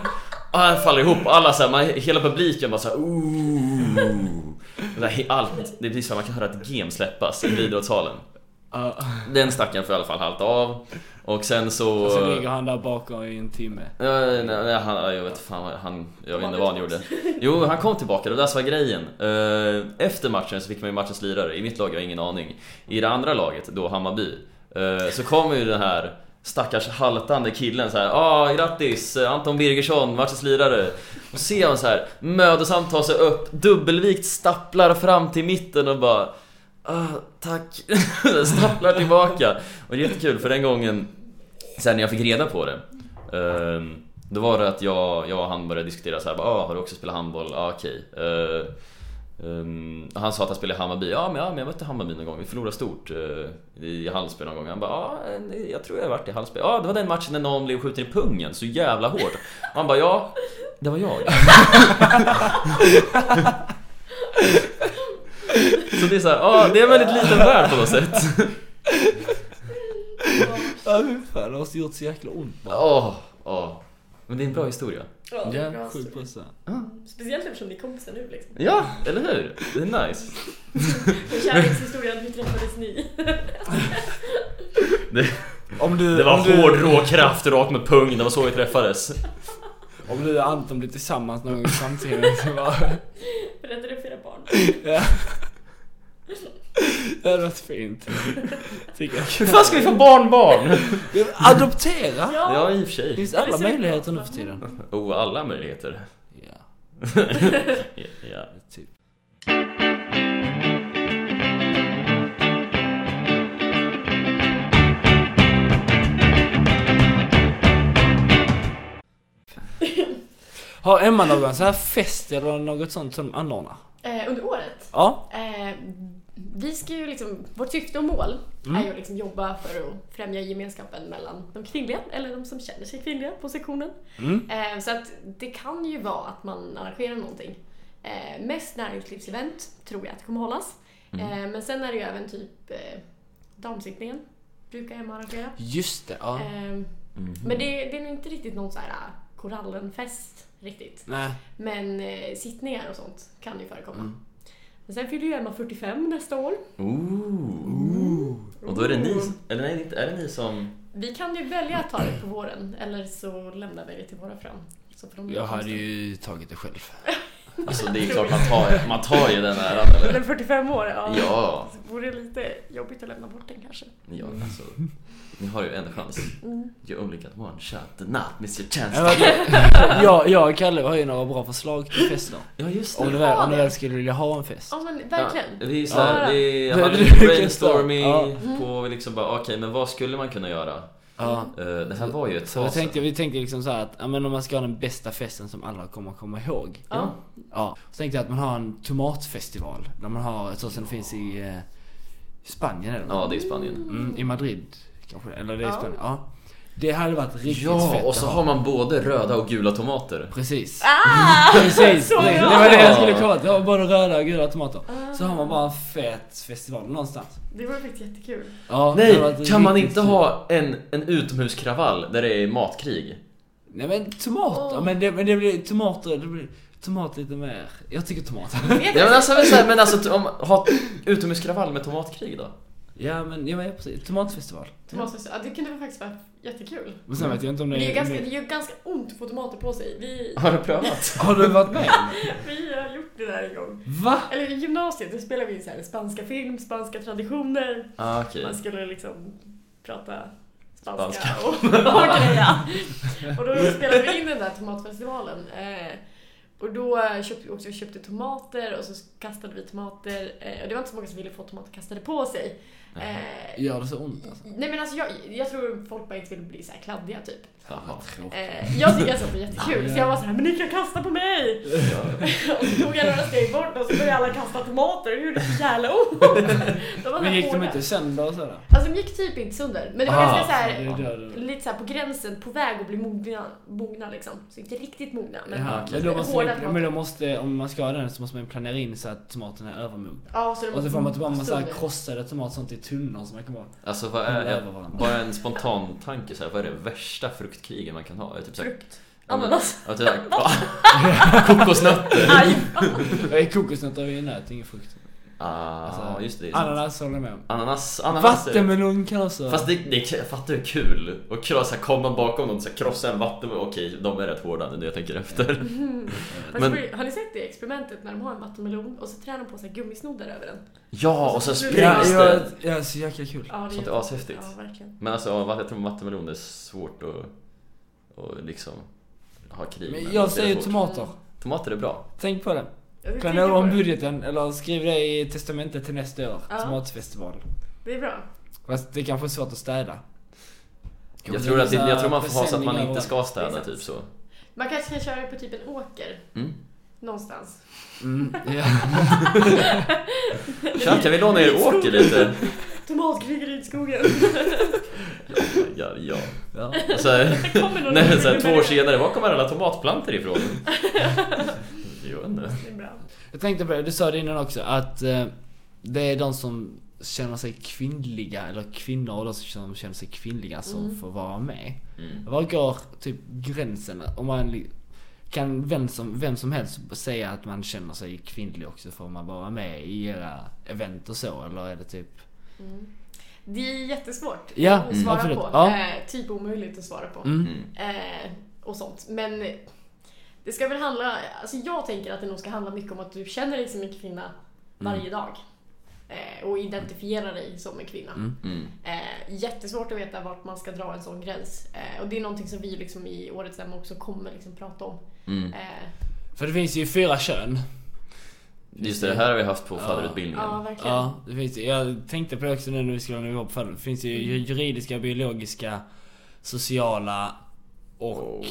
Speaker 1: Och han faller ihop och alla så här, man, hela publiken bara såhär ooh. Så här, he- Allt, det blir så här, man kan höra ett gem släppas i videosalen.
Speaker 3: Ja.
Speaker 1: Den stackaren får i alla fall halta av och sen så...
Speaker 3: Och så ligger han där bakom i en timme.
Speaker 1: Ja, nej, nej, han, jag vet fan, vad han, jag vet inte vad han gjorde. Jo, han kom tillbaka, det där som var grejen. Eh, Efter matchen så fick man ju matchens lirare, i mitt lag har jag ingen aning. I det andra laget, då Hammarby, eh, så kommer ju den här stackars haltande killen så här. ah grattis eh, Anton Birgersson, matchens lirare. Och ser honom så här mödosamt ta sig upp, dubbelvikt, stapplar fram till mitten och bara ah, tack, stapplar tillbaka. Och det är jättekul för den gången Sen när jag fick reda på det ehm, Då var det att jag, jag och han började diskutera så här, bara, ah, har du också spelat handboll? Ja ah, okej Eh, ehm, Han sa att han spelade i Hammarby, ja men, ja men jag mötte Hammarby någon gång, vi förlorade stort eh, I Hallsberg någon gång, han bara ja ah, jag tror jag har varit i Hallsberg Ja ah, det var den matchen när någon blev skjuten i pungen så jävla hårt Och Han bara ja, det var jag Så det är såhär, ja ah, det är en väldigt liten värld på något sätt
Speaker 3: Ja, fy fan. Det måste gjort så jäkla ont bara.
Speaker 1: Åh, åh. Men det är en bra historia
Speaker 2: Ja, det är bra
Speaker 3: Ja,
Speaker 2: historia.
Speaker 3: 7%.
Speaker 2: Speciellt eftersom ni är kompisar nu liksom.
Speaker 1: Ja, eller hur? Det är nice.
Speaker 2: För kärlekshistorien, hur träffades ni?
Speaker 3: Om du,
Speaker 1: Det var
Speaker 3: om du,
Speaker 1: hård rå kraft rakt med pung, det var så vi träffades.
Speaker 3: Om du och Anton blir tillsammans någon gång samtidigt så bara...
Speaker 2: Berättade du för era barn?
Speaker 3: Ja. Det hade varit fint. Tycker
Speaker 1: Hur
Speaker 3: jag.
Speaker 1: fan ska vi få barnbarn?
Speaker 3: Adoptera!
Speaker 1: Ja, i och för sig.
Speaker 3: Det finns alla möjligheter nu för tiden.
Speaker 1: Oh, alla möjligheter.
Speaker 3: Ja,
Speaker 1: Ja.
Speaker 3: typ. Har Emma någon sån här fest eller något sånt som de anordnar?
Speaker 2: Eh, under året?
Speaker 3: Ja.
Speaker 2: Eh, vi ska ju liksom, vårt syfte och mål
Speaker 3: Mm.
Speaker 2: är ju att liksom jobba för att främja gemenskapen mellan de kvinnliga, eller de som känner sig kvinnliga på sektionen.
Speaker 3: Mm.
Speaker 2: Eh, så att det kan ju vara att man arrangerar någonting. Eh, mest näringslivsevent tror jag att det kommer hållas.
Speaker 3: Mm.
Speaker 2: Eh, men sen är det ju även typ eh, damsittningen, brukar Emma arrangera.
Speaker 3: Just det, ja.
Speaker 2: Eh, Men det, det är nog inte riktigt någon så här eh, korallenfest riktigt.
Speaker 3: Nej.
Speaker 2: Men eh, sittningar och sånt kan ju förekomma. Men sen fyller ju Emma 45 nästa år.
Speaker 1: Ooh. Och då är det ni, eller nej, inte- är det ni som...
Speaker 2: Vi kan ju välja att ta det på våren eller så lämnar vi det till våra fram. Så får de
Speaker 3: Jag hade ju tagit det själv.
Speaker 1: Alltså det är klart man tar, man tar ju den äran eller?
Speaker 2: Men 45 år, ja.
Speaker 1: Ja,
Speaker 2: Så vore det lite jobbigt att lämna bort den kanske.
Speaker 1: ja alltså. Ni har ju en chans. You only got one shot, not miss your chance.
Speaker 3: jag, jag och Kalle har ju några bra förslag till fester.
Speaker 1: Ja just
Speaker 3: Om du
Speaker 1: det.
Speaker 3: väl, om du väl skulle vilja ha en fest.
Speaker 2: Ja men
Speaker 1: Ja,
Speaker 2: verkligen.
Speaker 1: vi är så här,
Speaker 2: Ja.
Speaker 1: vi
Speaker 3: Det-
Speaker 1: hade
Speaker 3: det
Speaker 1: lite
Speaker 3: brukar jag
Speaker 1: brainstorming
Speaker 3: säga.
Speaker 1: på vi liksom bara okej men vad skulle man kunna göra?
Speaker 3: Ja.
Speaker 1: Eh, det här var ju ett
Speaker 3: Så vi
Speaker 1: tag sedan.
Speaker 3: tänkte, vi tänkte liksom så här att ja, men om man ska ha den bästa festen som alla kommer att komma ihåg.
Speaker 2: Ja.
Speaker 3: Ja. Så tänkte jag att man har en tomatfestival. Där man har, så som det finns i eh, Spanien eller något.
Speaker 1: Ja, det är Spanien.
Speaker 3: mm, I Madrid kanske. Eller det är i
Speaker 2: Ja.
Speaker 3: Spanien. Ja. Det hade varit riktigt
Speaker 1: Ja,
Speaker 3: fett
Speaker 1: och så
Speaker 3: att
Speaker 1: har man både röda och gula tomater.
Speaker 3: Precis.
Speaker 2: Ah!
Speaker 3: Precis,
Speaker 2: Så
Speaker 3: det
Speaker 2: bra!
Speaker 3: var det jag skulle komma till. Det var Både röda och gula tomater. Så har man bara en fet festival någonstans.
Speaker 2: Det vore faktiskt jättekul.
Speaker 3: Ja, det hade
Speaker 1: Nej,
Speaker 3: varit
Speaker 1: kan man
Speaker 3: riktigt
Speaker 1: inte
Speaker 3: kul.
Speaker 1: ha en, en utomhuskravall där det är matkrig?
Speaker 3: Nej men tomater,
Speaker 2: Åh.
Speaker 3: men, det, men det blir tomater, det blir tomat lite mer. Jag tycker tomat.
Speaker 2: Vet
Speaker 1: Ja, men
Speaker 2: du?
Speaker 1: alltså, men, så här, men alltså t- om, ha utomhuskravall med tomatkrig då?
Speaker 3: Ja men, ja, men ja, precis. Tomatfestival.
Speaker 2: Tomatfest, ja, det kunde väl faktiskt vara jättekul.
Speaker 3: Men
Speaker 1: Mm.
Speaker 3: sen vet jag inte om
Speaker 2: Men
Speaker 3: det
Speaker 2: det är ju
Speaker 3: är...
Speaker 2: ganska, det är ju ganska ont att få tomater på sig. Vi,
Speaker 1: Har du prövat?
Speaker 3: Har du varit med?
Speaker 2: vi har gjort det där en gång.
Speaker 3: Va?
Speaker 2: Eller i gymnasiet, då spelade vi så här, spanska film, spanska traditioner.
Speaker 1: Ah, okej.
Speaker 2: Man skulle liksom prata spanska,
Speaker 1: Spanska.
Speaker 2: och, och greja. Och då spelade vi in den där tomatfestivalen. Eh, och då köpte, också köpte tomater och så kastade vi tomater. Eh, och det var inte så många som ville få tomater kastade på sig. Eh,
Speaker 3: Gör det så ont alltså?
Speaker 2: Nej men alltså jag, jag tror folk bara inte vill bli så här kladdiga typ.
Speaker 1: Jaha.
Speaker 3: Vad tråkigt.
Speaker 2: Eh, jag tycker sånt var jättekul så jag var såhär, men ni kan kasta på mig! och så tog jag några steg bort och så började alla kasta tomater och det gjorde så jävla ont! De var så
Speaker 3: Men gick de
Speaker 2: hårda.
Speaker 3: inte sönder och sådär?
Speaker 2: Alltså de gick typ inte sönder, men det var
Speaker 1: Ah,
Speaker 2: ganska
Speaker 3: det
Speaker 2: såhär,
Speaker 3: är där det-
Speaker 2: lite såhär på gränsen, på väg att bli mogna, mogna liksom. Så inte riktigt mogna, men
Speaker 3: Jaha,
Speaker 2: lite
Speaker 3: men då måste,
Speaker 2: hårda
Speaker 3: man, men
Speaker 2: tomater.
Speaker 3: då måste, om man ska ha den så måste man ju planera in så att tomaterna är övermogna.
Speaker 2: Ja, så de
Speaker 3: Och så får man typ bara en massa
Speaker 2: sönder.
Speaker 3: krossade tomater sånt i tunnor som man kan vara.
Speaker 1: Alltså vad är,
Speaker 3: De
Speaker 1: jag,
Speaker 3: övar varandra.
Speaker 1: bara en spontan tanke så här, vad är det värsta fruktkriget man kan ha? Är Typ så här,
Speaker 2: Frukt. Ananas.
Speaker 1: Ja, typ så här, kokosnötter!
Speaker 2: Aj!
Speaker 3: Nej, kokosnötter är ju nöt, ingen frukt.
Speaker 1: Ah, just det, det. är sant.
Speaker 3: Alltså, Ananas håller jag med om.
Speaker 1: Ananas, ananas är-
Speaker 3: Vattenmelon kan också...
Speaker 1: Fast det, det, jag fattar hur kul och kul att så här komma bakom dem och så här krossa en vatten Okej, de är rätt hårda nu när jag tänker
Speaker 3: Mm.
Speaker 1: efter
Speaker 2: Mm. Fast
Speaker 1: Men-
Speaker 2: för- Har ni sett det experimentet när de har en vattenmelon och så trär de på sig gummisnoddar över den?
Speaker 1: Ja, och sen
Speaker 3: Ja,
Speaker 1: sprängs
Speaker 3: ja,
Speaker 1: det!
Speaker 3: ja, så jäkla kul.
Speaker 2: Ja,
Speaker 1: Sånt är
Speaker 2: jätte-
Speaker 1: ashäftigt.
Speaker 2: Ja, verkligen.
Speaker 1: Men alltså, ja, jag tror vattenmelon är svårt att, att liksom ha krig med. Det
Speaker 3: Men
Speaker 1: är
Speaker 3: jag säger
Speaker 1: svårt.
Speaker 3: tomater.
Speaker 1: Tomater är bra.
Speaker 3: Tänk på det.
Speaker 2: Jag ska tänka
Speaker 3: Planera
Speaker 2: på
Speaker 3: om
Speaker 2: det.
Speaker 3: budgeten eller skriv det i testamentet till nästa år.
Speaker 2: Ja.
Speaker 3: Tomatfestival.
Speaker 2: Det är bra.
Speaker 3: Fast det kanske är svårt att städa.
Speaker 1: Jag tror, att det, jag tror man får ha så att man
Speaker 3: Presenningar
Speaker 1: inte
Speaker 3: och-
Speaker 1: ska städa,
Speaker 2: Exakt.
Speaker 1: typ så.
Speaker 2: Man kanske kan köra på typ en åker.
Speaker 1: Mm.
Speaker 2: Någonstans.
Speaker 3: Mm, ja.
Speaker 1: Tja, kan vi låna er åker lite?
Speaker 2: Tomatkrig i skogen.
Speaker 1: Ja, ja.
Speaker 3: ja.
Speaker 1: Och Så här,
Speaker 2: Det kommer någon
Speaker 1: nej, så här,
Speaker 2: med
Speaker 1: två
Speaker 2: det.
Speaker 1: år senare, var kommer alla tomatplantor ifrån? Jag vet inte.
Speaker 2: Det är bra.
Speaker 3: Jag tänkte på det, du sa det innan också att eh, det är de som känner sig kvinnliga eller kvinnor och de som känner sig kvinnliga som får vara med.
Speaker 1: Mm.
Speaker 3: Var går typ gränsen? Om man li- kan vem som, vem som helst säga att man känner sig kvinnlig också? Får man vara med i era event och så eller är det typ?
Speaker 2: Det är jättesvårt
Speaker 3: Ja,
Speaker 2: att
Speaker 3: mm,
Speaker 2: svara
Speaker 3: absolut.
Speaker 2: på.
Speaker 3: Ja.
Speaker 2: Eh, typ omöjligt att svara på.
Speaker 3: Mm.
Speaker 1: Mm.
Speaker 2: Eh, och sånt. Men det ska väl handla... Alltså jag tänker att det nog ska handla mycket om att du känner dig som en kvinna
Speaker 3: Mm.
Speaker 2: varje dag. Eh, och identifierar dig som en kvinna.
Speaker 1: Mm.
Speaker 2: Eh, jättesvårt att veta vart man ska dra en sån gräns. Eh, och det är någonting som vi liksom i årets ämne också kommer liksom prata om.
Speaker 1: Mm.
Speaker 2: Eh,
Speaker 3: För det finns ju fyra kön.
Speaker 1: Just det, det här har vi haft på fadderutbildningen.
Speaker 2: ja, verkligen.
Speaker 3: Ja, det finns, jag tänkte på det också nu när vi skulle när vi var på fadder. Det finns ju ju- juridiska, biologiska, sociala och
Speaker 1: Och-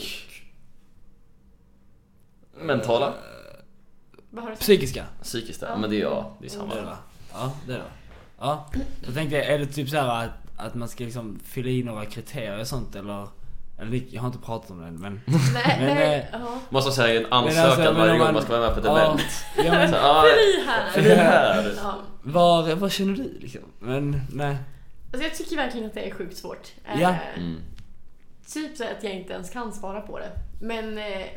Speaker 1: Mentala,
Speaker 2: Eh. Vad har du sagt?
Speaker 3: psykiska.
Speaker 1: psykiskt, ja, men det är jag. Det är
Speaker 3: Det är
Speaker 1: samma.
Speaker 3: det. Ja, det är det. Ja. Jag tänkte, är det typ så här att, att man ska liksom fylla i några kriterier och sånt eller? eller det- jag har inte pratat om det än men...
Speaker 2: Nej,
Speaker 3: Men,
Speaker 2: nej.
Speaker 3: eh,
Speaker 2: Ja.
Speaker 1: Måste säga en
Speaker 3: alltså,
Speaker 1: ansökan
Speaker 3: men om
Speaker 1: varje gång
Speaker 3: man-
Speaker 1: man ska vara med på ett
Speaker 3: Ja,
Speaker 1: event.
Speaker 3: ja, men,
Speaker 1: Så, ah,
Speaker 2: Fri här!
Speaker 1: det här.
Speaker 2: Ja.
Speaker 3: var, vad känner du liksom? Men nej.
Speaker 2: Alltså jag tycker verkligen att det är sjukt svårt. Eh,
Speaker 3: Ja.
Speaker 1: Mm.
Speaker 2: Typ så att jag inte ens kan svara på det. Men... Eh,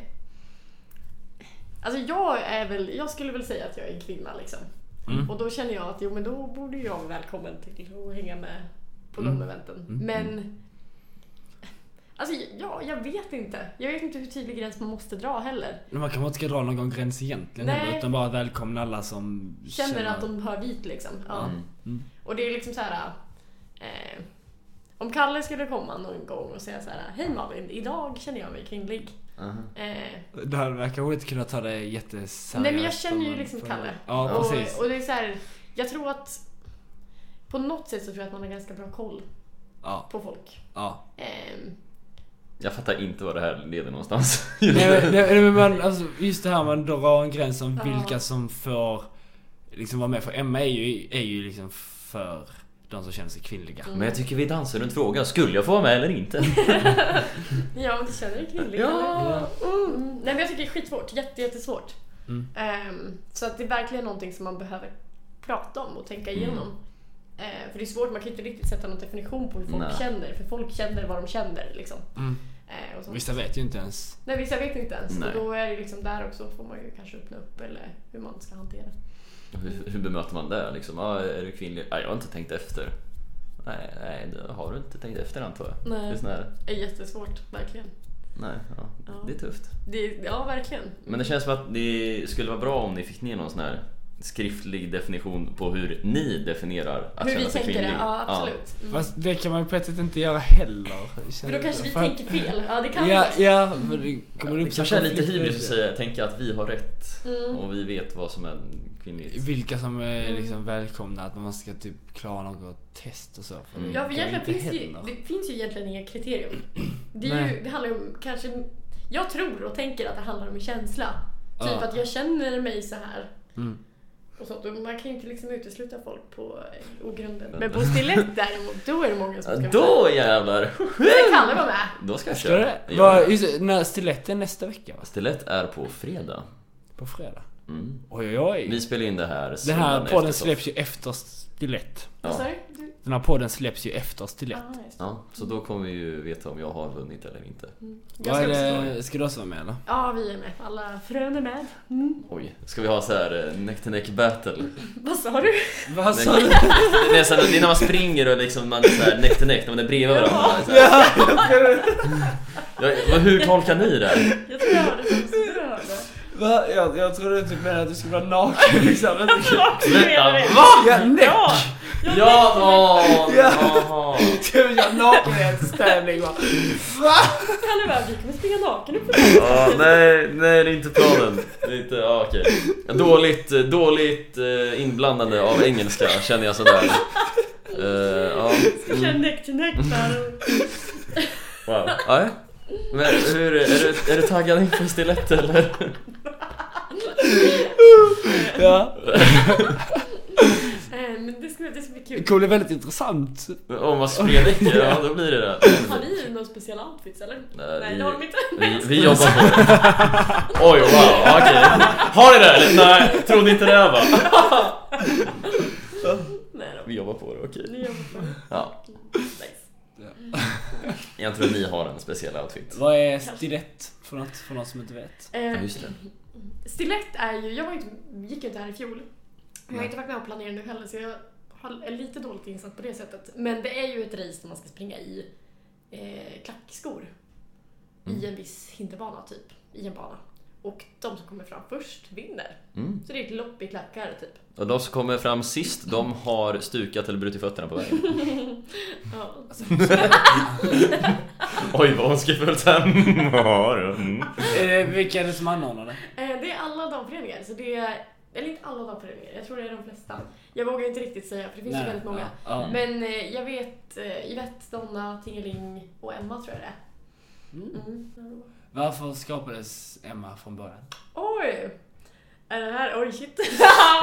Speaker 2: alltså jag är väl... Jag skulle väl säga att jag är en kvinna liksom. Och då känner jag att jo men då borde jag vara välkommen till att hänga med på de eventen. Men... Alltså ja, jag vet inte. Jag vet inte hur tydlig gräns man måste dra heller.
Speaker 3: Men Man kanske inte ska dra någon gräns egentligen
Speaker 2: Nej.
Speaker 3: heller, utan bara välkomna alla som
Speaker 2: Känner, att de hör dit liksom. Ja.
Speaker 1: Mm.
Speaker 2: Och det är liksom så här. Eh, om Kalle skulle komma någon gång och säga så här: Hej Malin, idag känner jag mig kvinnlig.
Speaker 1: Aha.
Speaker 2: Eh,
Speaker 3: Det här verkar inte kunna ta det jätteseriöst.
Speaker 2: nej men jag känner ju
Speaker 3: om man
Speaker 2: liksom
Speaker 3: får-
Speaker 2: Kalle.
Speaker 3: Ja, precis.
Speaker 2: och, och det är så här, jag tror att på något sätt så tror jag att man har ganska bra koll
Speaker 3: Ja,
Speaker 2: på folk.
Speaker 3: ja.
Speaker 2: Ehm,
Speaker 1: Jag fattar inte vad det här leder någonstans.
Speaker 3: Nej, men- nej, men man, alltså, just det här man drar en gräns om
Speaker 2: Ja.
Speaker 3: vilka som får liksom vara med. För Emma är ju, är ju liksom för de som känner sig kvinnliga.
Speaker 1: Men jag tycker vi dansar runt frågan, skulle jag få vara med eller inte?
Speaker 2: ja, men du känner dig kvinnlig.
Speaker 1: Ja.
Speaker 2: eller? Mm. Nej men jag tycker det är skitsvårt, jätte, jättesvårt.
Speaker 3: Mm.
Speaker 2: Ehm, så att det är verkligen någonting som man behöver prata om och tänka igenom. Ehm, för det är svårt, man kan ju inte riktigt sätta någon definition på hur folk
Speaker 1: Nej.
Speaker 2: känner. För folk känner vad de känner liksom.
Speaker 3: Mm.
Speaker 2: Ehm, och så.
Speaker 3: Vissa vet ju inte ens.
Speaker 2: Nej, vissa vet inte ens.
Speaker 1: Nej.
Speaker 2: Och då är det liksom där också får man ju kanske öppna upp eller hur man ska hantera.
Speaker 1: Hur, hur bemöter man det? Liksom, ah, är du kvinnlig? Ah, jag har inte tänkt efter. Nej, nej, det har du inte tänkt efter antar jag.
Speaker 2: Nej.
Speaker 1: Det är sån här,
Speaker 2: Det är jättesvårt, verkligen.
Speaker 1: nej, ja,
Speaker 2: Ja.
Speaker 1: det är tufft.
Speaker 2: Det, ja, verkligen.
Speaker 1: Men det känns som att det skulle vara bra om ni fick ner någon sån här skriftlig definition på hur ni definierar att
Speaker 2: Hur vi
Speaker 1: känna sig
Speaker 2: tänker
Speaker 1: kvinnlig.
Speaker 2: det, ja absolut. Mm.
Speaker 3: Fast det kan man ju på ett sätt inte göra heller.
Speaker 2: För då kanske vi tänker fel. Ja, det kan
Speaker 3: Ja,
Speaker 2: vi.
Speaker 3: ja, men det kommer
Speaker 1: det
Speaker 3: upp Mm. som
Speaker 1: kanske är lite
Speaker 3: konflikter.
Speaker 1: hybris att säga, tänka att vi har rätt
Speaker 2: Mm.
Speaker 1: och vi vet vad som är kvinnligt.
Speaker 3: Vilka som är liksom välkomna, att man ska typ klara något test och så. För
Speaker 1: Mm.
Speaker 2: Ja, för
Speaker 3: det
Speaker 2: egentligen
Speaker 3: inte
Speaker 2: finns det, ju,
Speaker 3: händer.
Speaker 2: det finns ju egentligen inga kriterium. Det, är ju,
Speaker 3: Nej.
Speaker 2: det handlar ju om kanske... Jag tror och tänker att det handlar om en känsla. Typ
Speaker 3: Ja.
Speaker 2: att jag känner mig så här.
Speaker 3: Mm.
Speaker 2: Och sånt. Och man kan ju inte liksom utesluta folk på eh, ogrunden.
Speaker 1: Men-
Speaker 2: Men på stilett däremot, då är det många som ska
Speaker 1: Ja,
Speaker 2: vara med.
Speaker 1: Då jävlar!
Speaker 2: Det kan det vara med.
Speaker 1: Då ska jag
Speaker 3: Ska
Speaker 1: köra.
Speaker 3: det?
Speaker 1: Ja.
Speaker 3: Ja. Just, det, när stiletten nästa vecka va?
Speaker 1: Stilett är på fredag.
Speaker 3: På fredag?
Speaker 1: Mm.
Speaker 3: Oj oj oj.
Speaker 1: Vi spelar in det här
Speaker 3: Den
Speaker 1: söndagen
Speaker 3: här
Speaker 1: efter
Speaker 3: podden
Speaker 1: soff-
Speaker 3: släpps ju efter stilett.
Speaker 2: Vad sa
Speaker 1: Ja.
Speaker 2: du? Du-
Speaker 3: Den här podden släpps ju efter stilett.
Speaker 2: Ah, just det.
Speaker 1: ja, så då kommer vi ju veta om jag har vunnit eller inte.
Speaker 2: Jag
Speaker 3: Vad
Speaker 2: ska
Speaker 3: är
Speaker 2: också-
Speaker 3: det, ska du också vara med eller?
Speaker 2: Ja, vi är med. Alla frön är med.
Speaker 1: Oj, ska vi ha så här eh, neck to neck battle?
Speaker 2: Vad sa du?
Speaker 3: Vad
Speaker 1: Nej,
Speaker 3: sa du?
Speaker 1: Det är, så här, det är när man springer och liksom man är så här neck to neck, när man är bredvid varandra. Så här. Ja, vad- hur tolkar ni det här?
Speaker 2: Jag tror jag hörde det. Jag tror jag hörde det.
Speaker 3: Va? Jag, jag trodde typ menade att du skulle vara naken liksom.
Speaker 1: Vänta,
Speaker 2: det.
Speaker 1: va?
Speaker 3: Ja, nej!
Speaker 2: Ja!
Speaker 1: Ja, åh,
Speaker 3: Ja.
Speaker 1: jaha.
Speaker 3: Ska vi göra nakenhetstävling va? Va?
Speaker 2: Kalle bara, vi kommer springa naken upp för
Speaker 1: Ja, nej, nej, det är inte planen. Det är inte, ja, okej. Dåligt, eh, dåligt eh, inblandande av engelska känner jag sådär. Eh, ja,
Speaker 2: Ska köra neck to neck där.
Speaker 1: wow. Ja, men hur, är du, är du taggad inför stilett eller?
Speaker 3: Ja.
Speaker 2: Eh, Men det ska, det ska bli
Speaker 3: Det
Speaker 2: kul.
Speaker 3: kommer bli väldigt intressant.
Speaker 1: Om man spredäcker, ja då blir det det.
Speaker 2: Har ni några speciella outfits eller?
Speaker 1: Nej,
Speaker 2: Nej,
Speaker 1: vi-
Speaker 2: det har de inte.
Speaker 1: Vi, vi jobbar på det. Oj, wow, okej. Har ni det eller? Nej, trodde inte det va?
Speaker 2: Nej då.
Speaker 1: Vi jobbar på det, okej.
Speaker 2: Ni jobbar på
Speaker 1: Ja,
Speaker 2: nice.
Speaker 1: jag tror ni har en speciell outfit.
Speaker 3: Vad är stilett för något, för någon som inte vet?
Speaker 1: Ja,
Speaker 2: Eh,
Speaker 1: just det.
Speaker 2: Stilett är ju, jag var inte, gick ju inte här i fjol. Jag har
Speaker 1: Nej.
Speaker 2: inte varit med och planerat nu heller så jag har- är lite dåligt insatt på det sättet. Men det är ju ett race där man ska springa i eh, klackskor. I en viss hinderbana typ, i en bana. Och de som kommer fram först vinner.
Speaker 1: Mm.
Speaker 2: Så det är ett lopp i klackar typ.
Speaker 1: Och de som kommer fram sist, de har stukat eller brutit fötterna på vägen.
Speaker 2: Ja.
Speaker 1: Oj, vad ondskefullt här. Ja, du. Mm.
Speaker 3: Är det, Eh, vilka är det som anordnar det?
Speaker 2: Eh, Det är alla damföreningar. Så det är, eller inte alla damföreningar, jag tror det är de flesta. Jag vågar inte riktigt säga för det finns ju väldigt många.
Speaker 3: Ja. ja.
Speaker 2: Men eh, jag vet eh, Yvette, Donna, Tingeling och Emma tror jag det är.
Speaker 3: Mm.
Speaker 2: Mm.
Speaker 3: Varför skapades Emma från början?
Speaker 2: Oj! Är det här... Oj shit!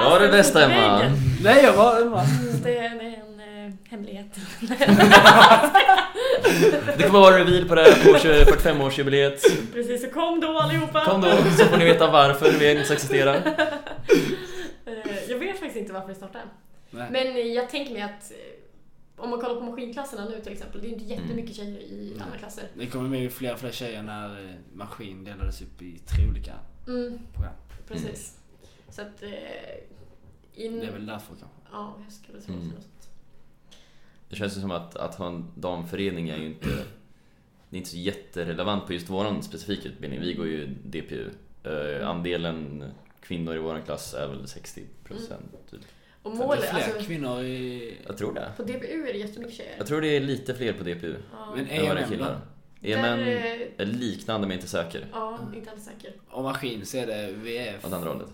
Speaker 1: Ja, det bästa Emma.
Speaker 3: Nej, jag var Emma.
Speaker 2: Det är det är en eh, hemlighet.
Speaker 1: Det kommer vara reveal på det här på 45-årsjubileet.
Speaker 2: Precis, så kom då allihopa!
Speaker 1: Kom då, så får ni veta varför vi ens existerar.
Speaker 2: Eh, Jag vet faktiskt inte varför det startade.
Speaker 3: Nej.
Speaker 2: Men eh, jag tänker mig att eh, om man kollar på maskinklasserna nu till exempel, det är ju inte jättemycket
Speaker 1: Mm.
Speaker 2: tjejer i alla klasser.
Speaker 3: Det kommer med fler och fler tjejer när eh, maskin delades upp i tre olika
Speaker 2: Mm,
Speaker 3: program.
Speaker 2: precis.
Speaker 1: Mm.
Speaker 2: Så att... eh, In...
Speaker 3: Det är väl därför kanske.
Speaker 2: Ja, jag skulle tro
Speaker 1: Mm.
Speaker 2: något sånt.
Speaker 1: Det känns ju som att, att ha en damförening är ju inte Det är inte så jätterelevant på just våran specifika utbildning. Vi går ju DPU. Eh, andelen kvinnor i våran klass är väl 60 procent. Typ.
Speaker 2: Och
Speaker 3: För att det är
Speaker 2: målet,
Speaker 3: fler
Speaker 2: alltså...
Speaker 3: kvinnor i...
Speaker 1: Jag tror det.
Speaker 2: På DBU är det jättemycket tjejer.
Speaker 1: Jag tror det är lite fler på DPU
Speaker 2: Ja.
Speaker 3: Men
Speaker 1: än vad det är
Speaker 3: EMM
Speaker 1: killar.
Speaker 2: Där,
Speaker 1: EMN
Speaker 2: eh,
Speaker 1: är liknande men inte säker.
Speaker 2: Ja, inte alls säker.
Speaker 3: Och maskin så är det VF
Speaker 1: Åt andra hållet.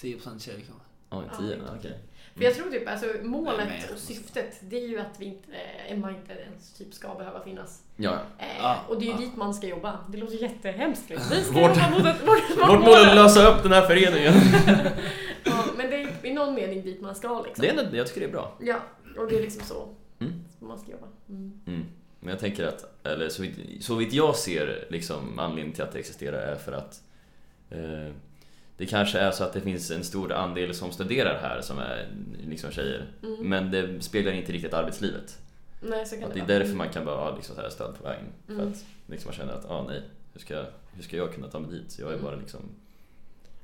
Speaker 3: 10% tjejer kanske.
Speaker 1: Oj,
Speaker 2: Ja,
Speaker 1: 10?
Speaker 2: inte.
Speaker 1: Ja, okej.
Speaker 2: För jag tror typ alltså
Speaker 3: Nej, men
Speaker 2: målet
Speaker 3: jag-
Speaker 2: och syftet det är ju att vi inte, eh, Emma inte ens typ ska behöva finnas.
Speaker 1: Ja, ja.
Speaker 2: Eh,
Speaker 3: Ah,
Speaker 2: och det är ju
Speaker 3: ah.
Speaker 2: dit man ska jobba. Det låter jättehemskt. liksom. Vi ska
Speaker 1: Vårt-
Speaker 2: jobba mot att- mot-
Speaker 1: Vårt
Speaker 2: mot
Speaker 1: mål är att
Speaker 2: målet.
Speaker 1: lösa upp den här föreningen.
Speaker 2: Ja, men det är ju i någon mening dit man ska liksom.
Speaker 1: Det är, ändå- jag tycker det är bra.
Speaker 2: Ja, och det är liksom så
Speaker 1: Mm.
Speaker 2: man ska jobba. Mm.
Speaker 1: Mm. Men jag tänker att, eller så vitt, så vitt jag ser liksom, anledningen till att det existerar är för att eh, det kanske är så att det finns en stor andel som studerar här som är liksom tjejer.
Speaker 2: Mm.
Speaker 1: Men det speglar inte riktigt arbetslivet.
Speaker 2: Nej, så kan
Speaker 1: Att
Speaker 2: det,
Speaker 1: det är
Speaker 2: vara.
Speaker 1: därför man kan behöva liksom, så här, stöd på vägen. För
Speaker 2: Mm.
Speaker 1: att liksom, man känner att, ah, nej, hur ska, hur ska jag kunna ta mig dit? Jag är
Speaker 2: Mm.
Speaker 1: bara liksom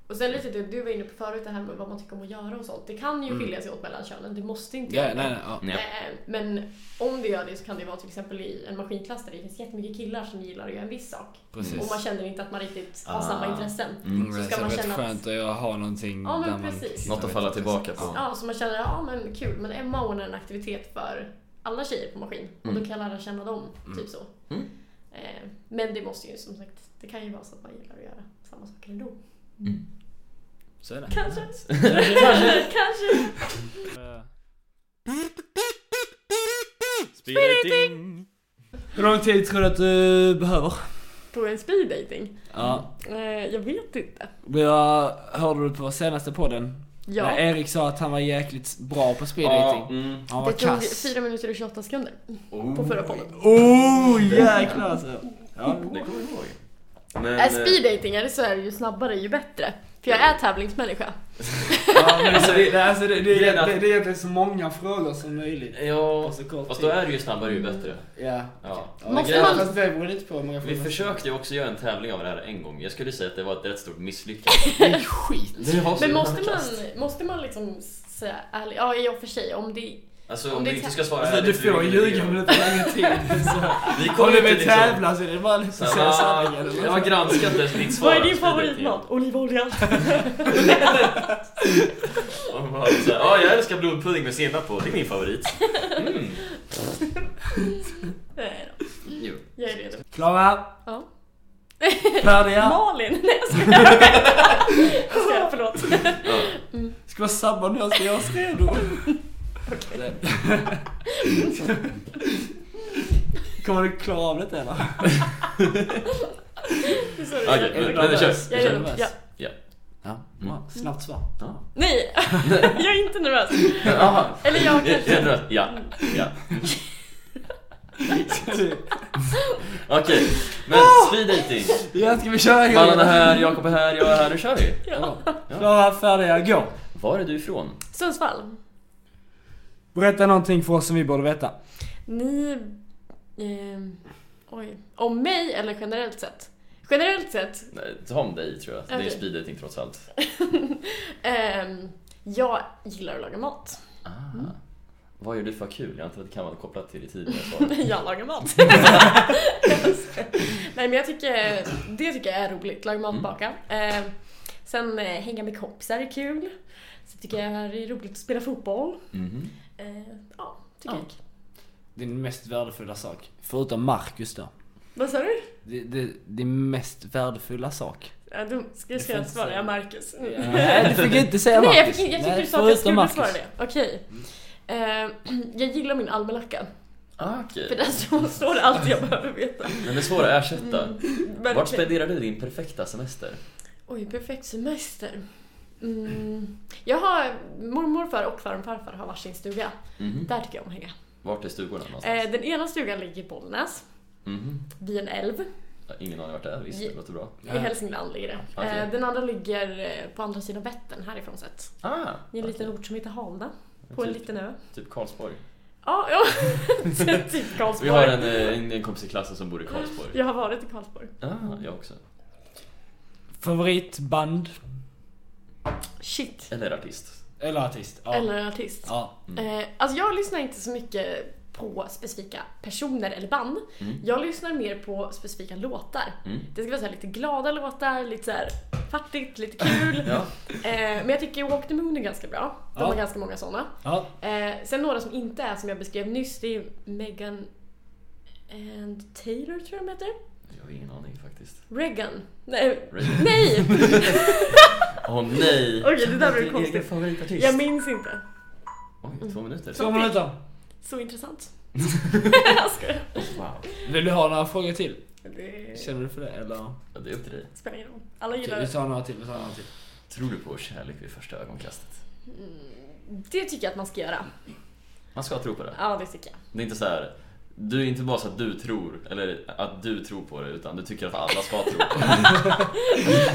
Speaker 2: Och sen lite det du var inne på förut, det här med vad man tycker om att göra och sånt. Det kan ju
Speaker 3: Mm.
Speaker 2: skilja sig åt mellan könen, det måste inte
Speaker 3: Ja,
Speaker 2: göra
Speaker 3: nej,
Speaker 2: det.
Speaker 3: nej, ja.
Speaker 1: Ja.
Speaker 2: Eh, Men om det gör det så kan det vara till exempel i en maskinklass där det finns jättemycket killar som gillar att göra en viss sak.
Speaker 3: Precis.
Speaker 2: Och man känner inte att man riktigt har
Speaker 1: Ah.
Speaker 2: samma intressen.
Speaker 1: Mm.
Speaker 3: Det
Speaker 2: så
Speaker 3: är
Speaker 2: ska man
Speaker 3: rätt
Speaker 2: känna att-
Speaker 3: skönt att ha någonting
Speaker 2: Ja, men
Speaker 3: där man...
Speaker 2: precis.
Speaker 1: Något att falla tillbaka på.
Speaker 3: Ja.
Speaker 2: Ja, så man känner, ja men kul, men Emma hon är en aktivitet för alla tjejer på maskin. Och då kan jag lära känna dem, typ så.
Speaker 1: Mm.
Speaker 2: Eh, Men det måste ju som sagt, det kan ju vara så att man gillar att göra samma saker ändå.
Speaker 3: Så är
Speaker 1: Ah.
Speaker 3: det.
Speaker 2: Kanske. Kanske.
Speaker 1: Spiriting!
Speaker 3: Hur lång tid tror du att du behöver?
Speaker 2: På en speed dating?
Speaker 3: Ja.
Speaker 2: Eh, Jag vet inte.
Speaker 3: Jag hörde du på senaste podden?
Speaker 2: Ja.
Speaker 3: När Erik sa att han var jäkligt bra på speeddating.
Speaker 1: Ja, mm.
Speaker 3: Han var
Speaker 2: Det tog
Speaker 3: kass.
Speaker 2: 4 minuter och 28 sekunder på
Speaker 1: oh,
Speaker 2: förra podden.
Speaker 3: Oh jäklar alltså. Ja.
Speaker 1: det kommer jag ihåg. Men, eh,
Speaker 2: Är speeddatingar så är det ju snabbare ju bättre. För jag är tävlingsmänniska.
Speaker 1: eh,
Speaker 3: Ja, men alltså, det, det, alltså, det, det,
Speaker 1: Grejen är
Speaker 3: det,
Speaker 1: att-
Speaker 3: det, det är egentligen så många frågor som möjligt.
Speaker 1: eh, ja,
Speaker 3: På så kort
Speaker 1: fast då
Speaker 3: tid.
Speaker 1: är det ju snabbare ju bättre.
Speaker 3: Ja.
Speaker 1: Ja.
Speaker 3: ja
Speaker 2: Måste
Speaker 3: grejen-
Speaker 2: man-
Speaker 3: Fast det beror lite på hur många
Speaker 1: Vi
Speaker 3: frågor.
Speaker 1: försökte ju också göra en tävling av det här en gång. Jag skulle säga att det var ett rätt stort misslyckande.
Speaker 3: Det är skit.
Speaker 1: Det var så jävla
Speaker 2: Men måste
Speaker 1: kast.
Speaker 2: man, måste man liksom säga ärligt? Ja, i och för sig. Om det...
Speaker 1: Alltså
Speaker 2: om
Speaker 1: om
Speaker 2: det
Speaker 1: du
Speaker 2: är
Speaker 1: inte
Speaker 2: tä-
Speaker 1: ska svara
Speaker 3: Alltså,
Speaker 1: ärligt,
Speaker 3: du
Speaker 1: då är
Speaker 3: får
Speaker 1: det
Speaker 3: ljuga
Speaker 1: ingen
Speaker 3: om du
Speaker 1: idé.
Speaker 3: inte har ingen tid. Så.
Speaker 1: Vi
Speaker 3: Om
Speaker 1: kommer
Speaker 3: du
Speaker 1: inte
Speaker 3: vill
Speaker 1: liksom...
Speaker 3: tävla så är det bara liksom
Speaker 1: Så
Speaker 3: att säga
Speaker 1: här,
Speaker 3: sanningen.
Speaker 1: "Ah, Jag har granskat det, ditt svar.
Speaker 2: Vad är din favoritmat? Olivolja.
Speaker 1: Och bara så här, Ja, jag älskar blodpudding med senap på. Det är min favorit. Mm.
Speaker 2: Nej då,
Speaker 1: Jo.
Speaker 2: jag är redo.
Speaker 3: Klara,
Speaker 2: Ja.
Speaker 3: färdiga.
Speaker 2: Malin! Nej jag skojar. Jag skojar, förlåt.
Speaker 1: Ja.
Speaker 3: Ska vara sabbar nu, ska göra oss redo. Kommer du klara av detta eller?
Speaker 1: Mm.
Speaker 2: Sorry.
Speaker 1: Okej,
Speaker 2: jag-
Speaker 1: men- men det körs.
Speaker 2: Jag
Speaker 1: Det
Speaker 2: är
Speaker 1: körs.
Speaker 2: redo. Ja.
Speaker 1: Ja.
Speaker 3: Ja,
Speaker 1: Mm.
Speaker 3: bra. snabbt svar.
Speaker 1: Ja.
Speaker 2: Nej, jag är inte nervös.
Speaker 1: Jaha.
Speaker 2: Eller jag
Speaker 1: Ja,
Speaker 2: kanske.
Speaker 1: ja, ja, ja. Okej, men
Speaker 2: Ah!
Speaker 1: speed dating.
Speaker 3: Ja, ska vi köra igång?
Speaker 1: Mannen är här, Jakob är här, jag är här, nu kör vi.
Speaker 3: Ja. Klara, färdiga, gå.
Speaker 1: Var är du ifrån?
Speaker 2: Sundsvall.
Speaker 3: Berätta någonting för oss som vi borde veta.
Speaker 2: Ni... ehm, oj. Om mig eller generellt sett? Generellt sett
Speaker 1: Nej, ta om dig tror jag. Det är
Speaker 2: Okej.
Speaker 1: speed dating trots allt.
Speaker 2: Ehm, jag gillar att laga mat.
Speaker 1: Ah.
Speaker 2: Mm.
Speaker 1: Vad gör du för kul? Jag antar att det kan vara kopplat till det tidigare svaret.
Speaker 2: jag lagar mat. Nej men jag tycker, det tycker jag är roligt. Laga mat och baka. Ehm, sen eh, hänga med kompisar är kul. Sen tycker jag det är roligt att spela fotboll.
Speaker 1: Mhm.
Speaker 2: Ehm, ja, tycker
Speaker 3: Ja.
Speaker 2: jag.
Speaker 3: Din mest värdefulla sak. Förutom Marcus då.
Speaker 2: Vad sa du?
Speaker 3: Det- det- Din mest värdefulla sak.
Speaker 2: Ja, då ska
Speaker 3: Det
Speaker 2: jag säga
Speaker 3: finns-
Speaker 2: svara jag Marcus.
Speaker 3: Nej, du fick inte säga
Speaker 2: Nej jag,
Speaker 3: Marcus.
Speaker 2: fick, jag tyckte du sa att jag skulle
Speaker 3: förutom
Speaker 2: svara det. Okej. Ehm, jag gillar min almanacka.
Speaker 1: Ah, Okej.
Speaker 2: För där står- står det allt jag behöver veta.
Speaker 1: Men det är svårt att ersätta.
Speaker 2: Mm, Men
Speaker 1: Vart
Speaker 2: okej.
Speaker 1: spenderar du din perfekta semester?
Speaker 2: Oj, perfekt semester. Mm. Jag har mormorfar och farfarfar har varsin stuga.
Speaker 1: Mhm.
Speaker 2: Där tycker jag om att hänga.
Speaker 1: Vart är stugorna någonstans?
Speaker 2: Eh, den ena stugan ligger i Bollnäs,
Speaker 1: Mhm.
Speaker 2: vid en älv.
Speaker 1: Jag har Ingen aning vart det är, visst det
Speaker 2: Ja.
Speaker 1: låter bra.
Speaker 3: Ja.
Speaker 2: I Hälsingland ligger det.
Speaker 1: Okej.
Speaker 2: Eh, den andra ligger eh, på andra sidan Vättern, härifrån sett.
Speaker 1: Ah,
Speaker 2: I en liten ort som heter Halna. På en
Speaker 1: Typ.
Speaker 2: liten ö.
Speaker 1: Typ Karlsborg.
Speaker 2: Ja, ja. typ
Speaker 1: Vi
Speaker 2: Karlsborg.
Speaker 1: har en, eh, en, en kompis i klassen som bor i Karlsborg.
Speaker 2: Jag har varit i Karlsborg.
Speaker 1: Ah, jag också.
Speaker 3: Favoritband.
Speaker 2: Shit.
Speaker 1: Eller artist.
Speaker 3: Eller artist. Ja.
Speaker 2: Eller en artist.
Speaker 3: Ja. Mm.
Speaker 2: Eh, alltså jag lyssnar inte så mycket på specifika personer eller band.
Speaker 1: Mm.
Speaker 2: Jag lyssnar mer på specifika låtar.
Speaker 1: Mm.
Speaker 2: Det ska vara så här lite glada låtar, lite så här fattigt, lite kul.
Speaker 1: Ja.
Speaker 2: eh, men jag tycker Walk the Moon är ganska bra. De
Speaker 3: Ja.
Speaker 2: har ganska många sådana.
Speaker 3: ja.
Speaker 2: Eh, sen några som inte är som jag beskrev nyss, det är Megan and Taylor tror jag de heter.
Speaker 1: Jag har ingen aning faktiskt.
Speaker 2: Reagan. Nej!
Speaker 1: Reagan.
Speaker 2: Nej!
Speaker 1: Åh nej!
Speaker 2: Okej, det där
Speaker 1: Din
Speaker 2: blir
Speaker 1: egen
Speaker 2: konstigt. Mm.
Speaker 1: favoritartist.
Speaker 2: Jag minns inte.
Speaker 1: Oj, två minuter.
Speaker 3: Två minuter.
Speaker 2: Så intressant. jag skojar.
Speaker 1: Wow.
Speaker 3: Vill du ha några frågor till?
Speaker 2: Det
Speaker 3: Känner du för det eller?
Speaker 1: Ja, det är upp till dig.
Speaker 2: spelar ingen roll. Alla
Speaker 3: Okej,
Speaker 2: gillar
Speaker 3: Vi tar några till, vi tar några till.
Speaker 1: Tror du på kärlek vid första ögonkastet?
Speaker 2: Det tycker jag att man ska göra.
Speaker 1: Man ska tro på det.
Speaker 2: Ja, det tycker jag.
Speaker 1: Det är inte så här. Du är inte bara så att du tror, eller att du tror på det, utan du tycker att alla ska tro på det.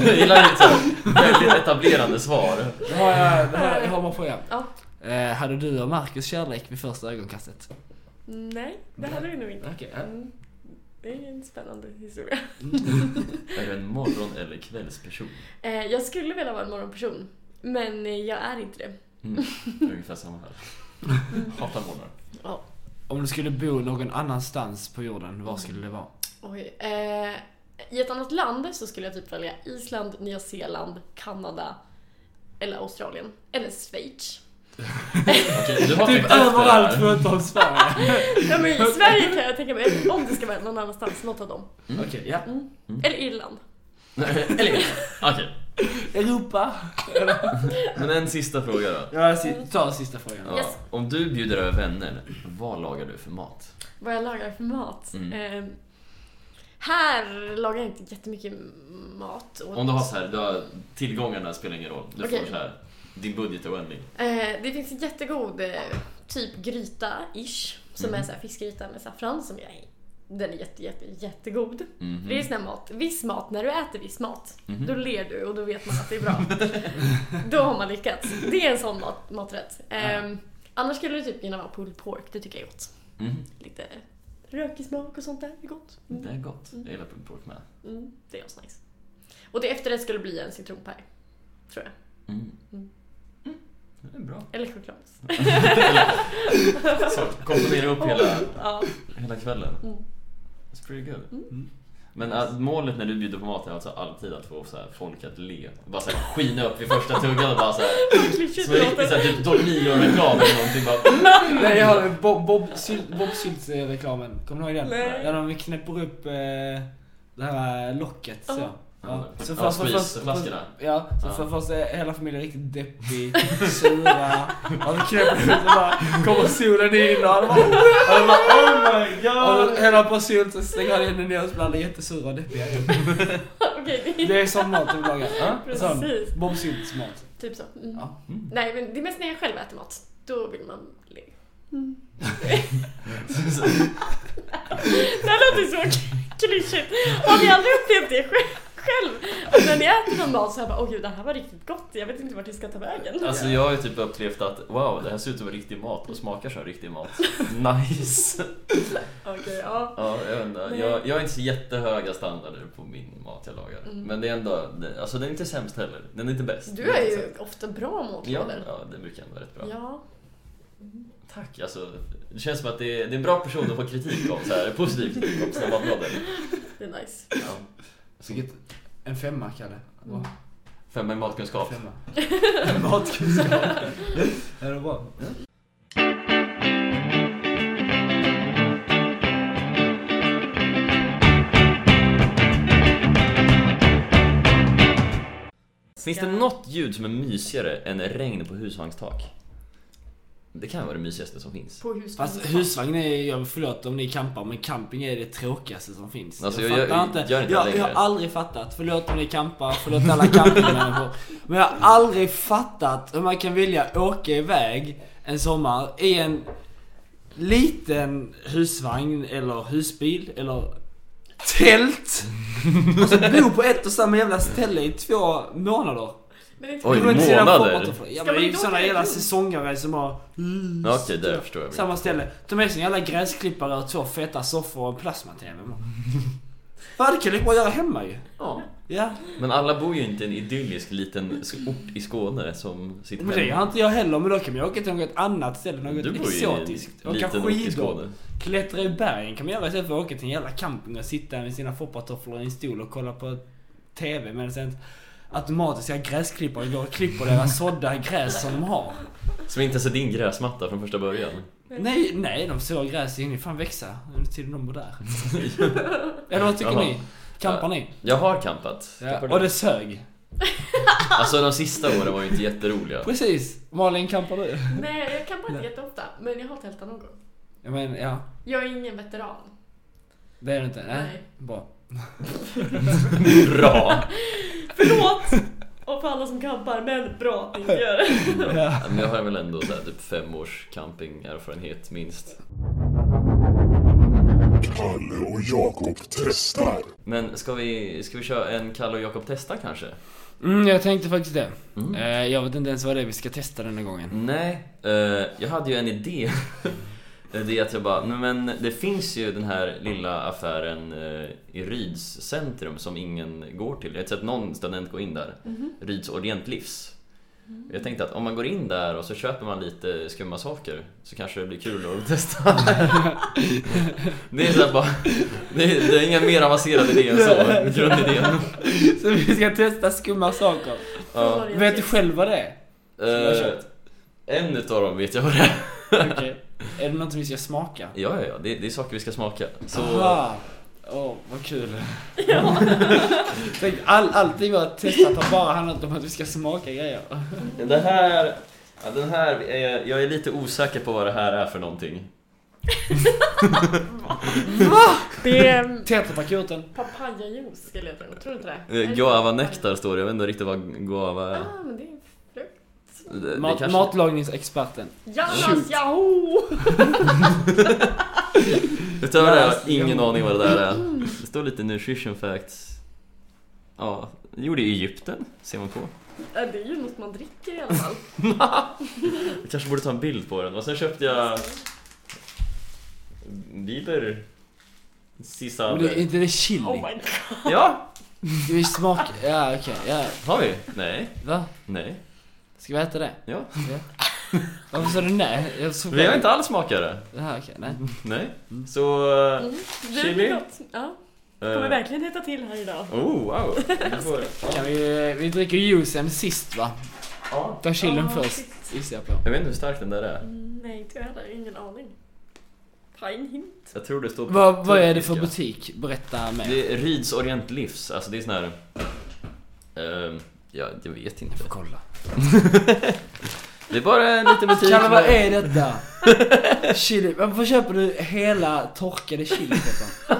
Speaker 1: Jag gillar inte så här väldigt etablerande svar.
Speaker 3: Då har jag, då har jag, jag har bara en fråga.
Speaker 2: Ja.
Speaker 3: Eh, hade du och Marcus kärlek vid första ögonkastet?
Speaker 2: Nej, det hade vi nog inte.
Speaker 3: Okej. ja.
Speaker 2: Mm. Det är en spännande historia.
Speaker 1: Är du en morgon eller kvällsperson?
Speaker 2: Eh, jag skulle vilja vara en morgonperson, men eh, jag är inte det.
Speaker 1: Mm. Ungefär samma här. Hatar morgnar.
Speaker 2: Ja.
Speaker 3: Om du skulle bo någon annanstans på jorden, var skulle det vara?
Speaker 2: Oj. Eh, I ett annat land så skulle jag typ välja Island, Nya Zeeland, Kanada eller Australien. Eller Schweiz.
Speaker 1: Okej, du har tänkt
Speaker 3: Typ
Speaker 1: efter
Speaker 3: överallt
Speaker 1: här.
Speaker 3: förutom Sverige.
Speaker 2: Ja, men I Sverige kan jag tänka mig, om det ska vara någon annanstans, något av dem.
Speaker 3: Okej, ja.
Speaker 2: Mm.
Speaker 1: Mm.
Speaker 2: Eller Irland.
Speaker 1: Eller inte. Okej,
Speaker 3: Europa.
Speaker 1: men en sista fråga då.
Speaker 3: Ja, alltså, si- ta sista frågan.
Speaker 1: Ja.
Speaker 2: Yes.
Speaker 1: Om du bjuder över vänner, vad lagar du för mat?
Speaker 2: Vad jag lagar för mat?
Speaker 1: Mm.
Speaker 2: Eh, här lagar jag inte jättemycket mat. åt-
Speaker 1: Om du har så här, du har, tillgångarna spelar ingen roll. Du
Speaker 2: Okej.
Speaker 1: får så här, din budget är oändlig.
Speaker 2: Eh, det finns en jättegod eh, typ gryta-ish som
Speaker 1: Mm.
Speaker 2: är så här fiskgryta med saffran som jag den är jätte, jätte, jättegod.
Speaker 1: Mhm.
Speaker 2: Det är sån här mat, viss mat, när du äter viss mat,
Speaker 1: Mhm.
Speaker 2: då ler du och då vet man att det är bra. då har man lyckats. Det är en sån mat, maträtt. Ehm, Annars skulle det typ kunna vara pulled pork, det tycker jag är gott.
Speaker 1: Mhm.
Speaker 2: Lite rökig smak och sånt där, det är gott.
Speaker 1: Det är gott.
Speaker 2: Mm-hmm.
Speaker 1: Jag gillar pulled pork med.
Speaker 2: Mm, det är asnice. Och det efterrätt skulle bli en citronpaj, tror jag.
Speaker 1: Mm.
Speaker 2: Mm.
Speaker 1: Det är bra.
Speaker 2: Eller choklad.
Speaker 1: Så, komponera upp hela,
Speaker 2: Ja.
Speaker 1: hela kvällen.
Speaker 2: Mm.
Speaker 1: It's pretty good.
Speaker 3: Mm.
Speaker 1: Men att målet när du bjuder på mat är alltså alltid att få så här folk att le. Bara så här skina upp vid första tuggan och bara så här.
Speaker 2: Vad klyschigt
Speaker 1: Som
Speaker 2: det
Speaker 1: en riktig så
Speaker 2: låter.
Speaker 1: här, typ Tornillo-reklam eller någonting. Bara, mm.
Speaker 3: Nej, jag har Bob, Bob, Syl- Bob Sylt-reklamen. Kommer du ihåg den?
Speaker 2: Nej.
Speaker 3: Där de knäpper upp eh, det här locket så.
Speaker 2: Ja.
Speaker 3: Ja. Så
Speaker 1: ja,
Speaker 3: först, först, först,
Speaker 1: squeezeflaskorna.
Speaker 3: ja, så
Speaker 1: Ja.
Speaker 3: för först är hela familjen riktigt deppig, sura. Och så knäpper de ut och bara kommer solen in och alla bara, och de bara oh my god. Och hela Bob Sylt så stänger han in den ner och så blir alla jättesura och deppiga.
Speaker 2: Okej, det är
Speaker 3: Det är sån mat de lagar. Ja, sån.
Speaker 2: precis.
Speaker 3: Bob Sylts mat.
Speaker 2: Typ så. Mm.
Speaker 3: Ja.
Speaker 2: Nej, men det är mest när jag själv äter mat. Då vill man le. Det här låter så k- klyschigt. Har ni aldrig upplevt det sj- själv? Att när ni äter någon mat så här bara, åh gud, det här var riktigt gott. Jag vet inte vart jag ska ta vägen.
Speaker 1: Alltså jag har ju typ upplevt att wow, det här ser ut som riktig mat och smakar som riktig mat. Nice!
Speaker 2: Okej, ja.
Speaker 1: Ja, jag, vet inte. Jag, jag har inte så jättehöga standarder på min mat jag lagar.
Speaker 2: Mm.
Speaker 1: Men det är ändå, det, alltså den är inte sämst heller. Den är inte bäst.
Speaker 2: Du är
Speaker 1: Men så-
Speaker 2: ju ofta bra
Speaker 1: Ja,
Speaker 2: matlådor.
Speaker 1: ja, det brukar ändå vara rätt bra.
Speaker 2: Ja.
Speaker 1: Tack, alltså. Det känns som att det är, det är en bra person att få kritik av, så här, positiv kritik om sina matlådor.
Speaker 2: det är nice.
Speaker 1: Ja.
Speaker 3: Så vilket- En femma Kalle.
Speaker 2: Mm.
Speaker 3: Wow.
Speaker 1: Femma i matkunskap.
Speaker 3: Femma. En matkunskap. Är det bra?
Speaker 1: Finns det något ljud som är mysigare än regn på husvagnstak? Det kan vara det mysigaste som finns.
Speaker 2: På husvagn.
Speaker 3: Fast husvagn är, jag förlåt om ni campar, men camping är det tråkigaste som finns.
Speaker 1: Alltså,
Speaker 3: jag
Speaker 1: jag-
Speaker 3: fattar
Speaker 1: jag-
Speaker 3: inte.
Speaker 1: gör inte det
Speaker 3: jag,
Speaker 1: längre.
Speaker 3: jag har aldrig fattat, förlåt om ni campar, förlåt alla campingmänniskor. men jag har aldrig fattat hur man kan vilja åka iväg en sommar i en liten husvagn eller husbil eller tält. Och så bo på ett och samma jävla ställe i två månader.
Speaker 2: Men det är
Speaker 1: Oj,
Speaker 3: Det går inte sedan
Speaker 1: månader?
Speaker 3: framåt och framåt. Ja
Speaker 2: Ska man
Speaker 3: men det är ju
Speaker 2: inte
Speaker 3: sådana
Speaker 2: åka
Speaker 3: jävla
Speaker 2: runt?
Speaker 3: säsongare som har...
Speaker 1: Ja, Okej, där förstår jag.
Speaker 3: Samma ställe. Ta med sig en jävla gräsklippare och två feta soffor och en plasma-tv. Vad det kan lika bra göra hemma ju.
Speaker 1: Ja.
Speaker 3: Ja.
Speaker 1: Men alla bor ju inte i en idyllisk liten ort i Skåne som sitt
Speaker 3: Men det gör inte jag heller. Men då kan man åka till något annat ställe. Något
Speaker 1: Du bor ju i
Speaker 3: exotiskt.
Speaker 1: en
Speaker 3: Åka
Speaker 1: liten ort i Skåne.
Speaker 3: skidor. Klättra i bergen kan man göra istället för att åka till en jävla camping och sitta med sina foppatofflor i en stol och kolla på TV medan sen automatiska gräsklippare går och klipper deras sådda gräs som de har.
Speaker 1: Som inte ens är din gräsmatta från första början.
Speaker 3: Nej, nej, de sår gräs in i fan växa under tiden de bor där. Eller vad tycker
Speaker 1: Jaha.
Speaker 3: ni? Campar ni?
Speaker 1: Jag har campat.
Speaker 3: Ja,
Speaker 1: Campar du?
Speaker 3: och det sög.
Speaker 1: Alltså de sista åren var ju inte jätteroliga.
Speaker 3: Precis. Malin, campar du?
Speaker 2: Nej, jag campar inte jätteofta. Men jag har tältat någon gång.
Speaker 3: Ja, men ja.
Speaker 2: Jag är ingen veteran.
Speaker 3: Det är det inte. Nej.
Speaker 2: Nej.
Speaker 3: Bra.
Speaker 1: Bra!
Speaker 2: Förlåt! Och för alla som campar, men bra att ni inte gör det.
Speaker 3: Ja.
Speaker 1: Men jag har väl ändå så här, typ fem års campingerfarenhet minst.
Speaker 4: Kalle och Jakob testar.
Speaker 1: Men ska vi, ska vi köra en Kalle och Jakob testa kanske?
Speaker 3: Mm, jag tänkte faktiskt det. Eh, jag vet inte ens vad det är vi ska testa den här gången.
Speaker 1: Nej, eh, jag hade ju en idé Det är att jag bara, nej men det finns ju den här lilla affären eh, i Ryds centrum som ingen går till. Jag har inte sett någon student gå in där.
Speaker 3: Mhm.
Speaker 1: Ryds Orientlivs.
Speaker 3: Mm.
Speaker 1: Jag tänkte att om man går in där och så köper man lite skumma saker så kanske det blir kul att testa. det är så här bara, det är, det är inga mer avancerade idéer än så, grundidén.
Speaker 3: Så vi ska testa skumma saker.
Speaker 1: Ja.
Speaker 3: Vet du själv vad det är? har
Speaker 1: Eh,
Speaker 3: köpt.
Speaker 1: en utav dem vet jag vad det är.
Speaker 3: Okej. Är det något vi ska smaka?
Speaker 1: Ja, ja, ja. Det, det är saker vi ska smaka. Så,
Speaker 3: Aha. Åh, vad kul. Tänk, all, allting vi har testat har bara handlat om att vi ska smaka grejer.
Speaker 1: Det här... Ja, den här är, jag är lite osäker på vad det här är för någonting.
Speaker 2: Det är
Speaker 3: Tetrapackjorten.
Speaker 2: papayajuice skulle jag tro. Tror du inte det?
Speaker 1: Eh, Guava nektar står det, jag vet inte riktigt vad guava är.
Speaker 2: Ah, men det är en frukt.
Speaker 1: Det, det
Speaker 3: Mat,
Speaker 1: kanske-
Speaker 3: Matlagningsexperten.
Speaker 2: Jallas, jaho!
Speaker 1: Utöver det har jag
Speaker 3: Läs-
Speaker 1: ingen aning vad det där är. Det står lite nutrition facts. Ja, det gjorde i Egypten, ser man på.
Speaker 2: Ja, Det är ju något man dricker i alla fall.
Speaker 1: Jag kanske borde ta en bild på den. Och sen köpte jag... Biber...
Speaker 3: Men det, är
Speaker 1: Sisabe.
Speaker 3: inte det chili?
Speaker 2: Oh my god.
Speaker 1: Ja!
Speaker 3: Ska vi smaka? Ja, okej. Ja.
Speaker 1: Har vi? Nej.
Speaker 3: Va?
Speaker 1: Nej.
Speaker 3: Ska vi äta det?
Speaker 1: Ja.
Speaker 3: Varför sa du nej? Jag såg
Speaker 1: Vi har inte alls smakat det.
Speaker 3: Jaha, okej. Nej.
Speaker 1: Nej. Så... eh,
Speaker 2: Det är
Speaker 1: Chili?
Speaker 2: gott. Ja, kommer
Speaker 1: Eh.
Speaker 2: verkligen heta till här idag.
Speaker 1: Oh, wow! Du får-
Speaker 3: Kan vi, vi dricker juicen sist va?
Speaker 1: Ja.
Speaker 3: Ta chillen
Speaker 2: Ja,
Speaker 3: först,
Speaker 2: shit.
Speaker 3: gissar jag på.
Speaker 1: Jag vet inte hur stark den där är.
Speaker 2: Mm, Nej, inte jag heller. Ingen aning. Ta en hint.
Speaker 1: Jag tror det står på
Speaker 3: Vad, vad är det för
Speaker 1: turkiska.
Speaker 3: butik? Berätta mer.
Speaker 1: Det är Rids Orient Livs, alltså det är sån här... ehm, ja, jag vet inte.
Speaker 3: kolla.
Speaker 1: Det är bara en liten butik.
Speaker 3: Kalle, vad
Speaker 1: med-
Speaker 3: är detta? Chili. Varför köper du hela torkade chili Petter?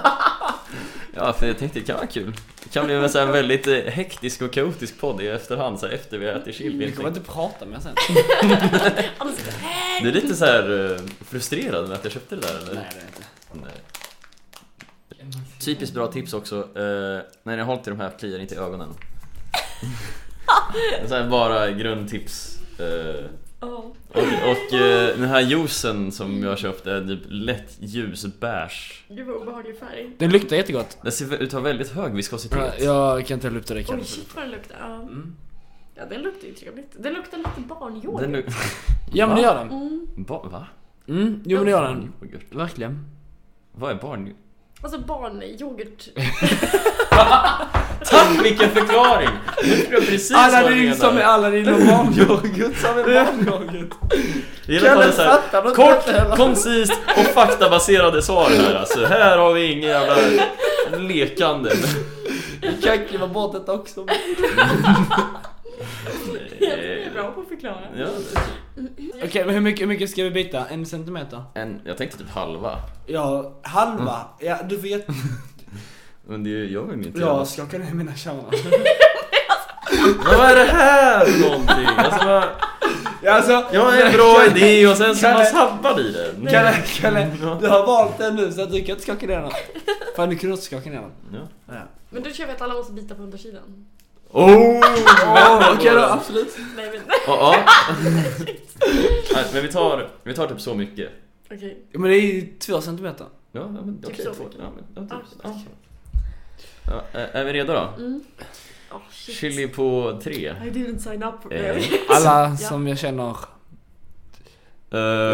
Speaker 1: Ja, för jag tänkte det kan vara kul. Det kan bli en sån här väldigt eh, hektisk och kaotisk podd i efterhand, så här, efter vi har ätit chili.
Speaker 3: Vi
Speaker 1: Jag
Speaker 3: kommer
Speaker 1: tänkte-
Speaker 3: inte prata med sen.
Speaker 2: Alltså, det
Speaker 1: Du är lite så här eh, frustrerad med att jag köpte det där eller?
Speaker 3: Nej, det är inte.
Speaker 1: Nej. Typiskt bra tips också. Eh, nej, jag håll inte i de här, kliar inte i ögonen. så här, bara grundtips. Eh,
Speaker 2: Ja.
Speaker 1: och och eh, den här juicen som jag köpte är typ lätt ljusbärs.
Speaker 2: Gud vad obehaglig färg.
Speaker 3: Den luktar jättegott.
Speaker 1: Den ser ut att ha väldigt hög viskositet.
Speaker 3: Ja, Jag kan inte lukta det
Speaker 2: Oj,
Speaker 3: Kalle.
Speaker 2: shit vad den luktar. Ja.
Speaker 3: Mm.
Speaker 2: ja, den luktar ju trevligt. Den luktar lite barnyoghurt.
Speaker 1: Den luk-
Speaker 3: Ja men det gör den.
Speaker 2: Mm.
Speaker 1: ba- va?
Speaker 3: Mm, jo men det gör den.
Speaker 1: Barnyoghurt?
Speaker 3: Verkligen.
Speaker 1: Vad är barn...
Speaker 2: Alltså barnyoghurt.
Speaker 1: Tack vilken förklaring! Nu tror jag precis vad du
Speaker 3: Aladdin
Speaker 1: menar.
Speaker 3: som är Aladdin och
Speaker 1: Yoghurt som är barnyoghurt. Jag gillar att
Speaker 3: Kalle
Speaker 1: det är så här,
Speaker 3: fattar något inte heller.
Speaker 1: Kort, koncist och faktabaserade svar här alltså. Här har vi ingen jävla lekande.
Speaker 3: Jag kan kliva bort detta också.
Speaker 2: Jag tror jag är bra på att förklara.
Speaker 1: Ja,
Speaker 3: Okej, men hur mycket, hur mycket ska vi byta? En centimeter?
Speaker 1: en, jag tänkte typ halva.
Speaker 3: Ja, halva. Ja, du vet.
Speaker 1: Men det gör väl inte
Speaker 3: Jag skakar ner mina kärnor.
Speaker 1: Vad är det här för någonting? Alltså, vad-
Speaker 3: Alltså,
Speaker 1: jag har en bra idé och sen så man sabbar i den.
Speaker 3: Kalle, Kalle, du har valt den nu så att du kan inte skaka ner den. Fan, du kunde också skaka ner den.
Speaker 1: Ja.
Speaker 3: Ja.
Speaker 2: Men då kör vi att alla måste bita på undersidan.
Speaker 1: Oh!
Speaker 3: Åh, Okej då, absolut.
Speaker 2: Nej men
Speaker 1: Ja, ja. Nej, men vi tar, vi tar typ så mycket.
Speaker 2: okej.
Speaker 3: Ja, Men det är ju två centimeter.
Speaker 1: Ja, ja, men
Speaker 2: Typ
Speaker 1: okej.
Speaker 2: så
Speaker 1: två-
Speaker 2: mycket.
Speaker 1: ja, men, ja, typ,
Speaker 2: Ah,
Speaker 1: ja. Ja, är är vi redo då?
Speaker 2: Mm. Oh, shit.
Speaker 1: Chili på tre.
Speaker 2: I didn't sign up for
Speaker 1: Eh,
Speaker 2: this.
Speaker 3: Alla
Speaker 2: Ja.
Speaker 3: som jag känner,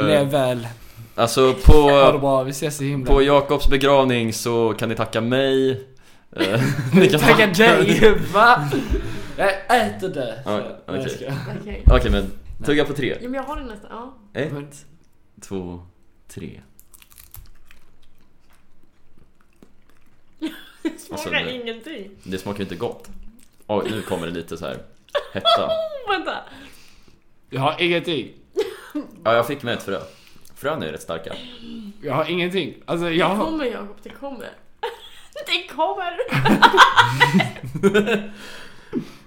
Speaker 3: lev
Speaker 1: Eh,
Speaker 3: väl,
Speaker 1: alltså på,
Speaker 3: ha det bra, vi ses i
Speaker 1: på
Speaker 3: himlen.
Speaker 1: Jakobs begravning så kan ni tacka mig. Eh, ni kan
Speaker 3: Tacka dig, va? Jag äter det.
Speaker 1: Ja,
Speaker 3: Nej, jag
Speaker 1: okej.
Speaker 3: skojar.
Speaker 2: Okej.
Speaker 1: Okej men, tugga på tre.
Speaker 2: Ja men jag har den nästan. Ja.
Speaker 1: Ett, två, tre.
Speaker 2: Jag
Speaker 1: Alltså,
Speaker 2: smakar
Speaker 1: nej.
Speaker 2: ingenting.
Speaker 1: Det smakar ju inte gott. Oj, nu kommer det lite så här hetta.
Speaker 2: Oh, vänta.
Speaker 3: Jag har ingenting.
Speaker 1: Ja, jag fick med ett frö. Frön är rätt starka.
Speaker 3: Jag har ingenting. Alltså jag
Speaker 2: Det
Speaker 3: har...
Speaker 2: kommer Jakob, det kommer. Det kommer!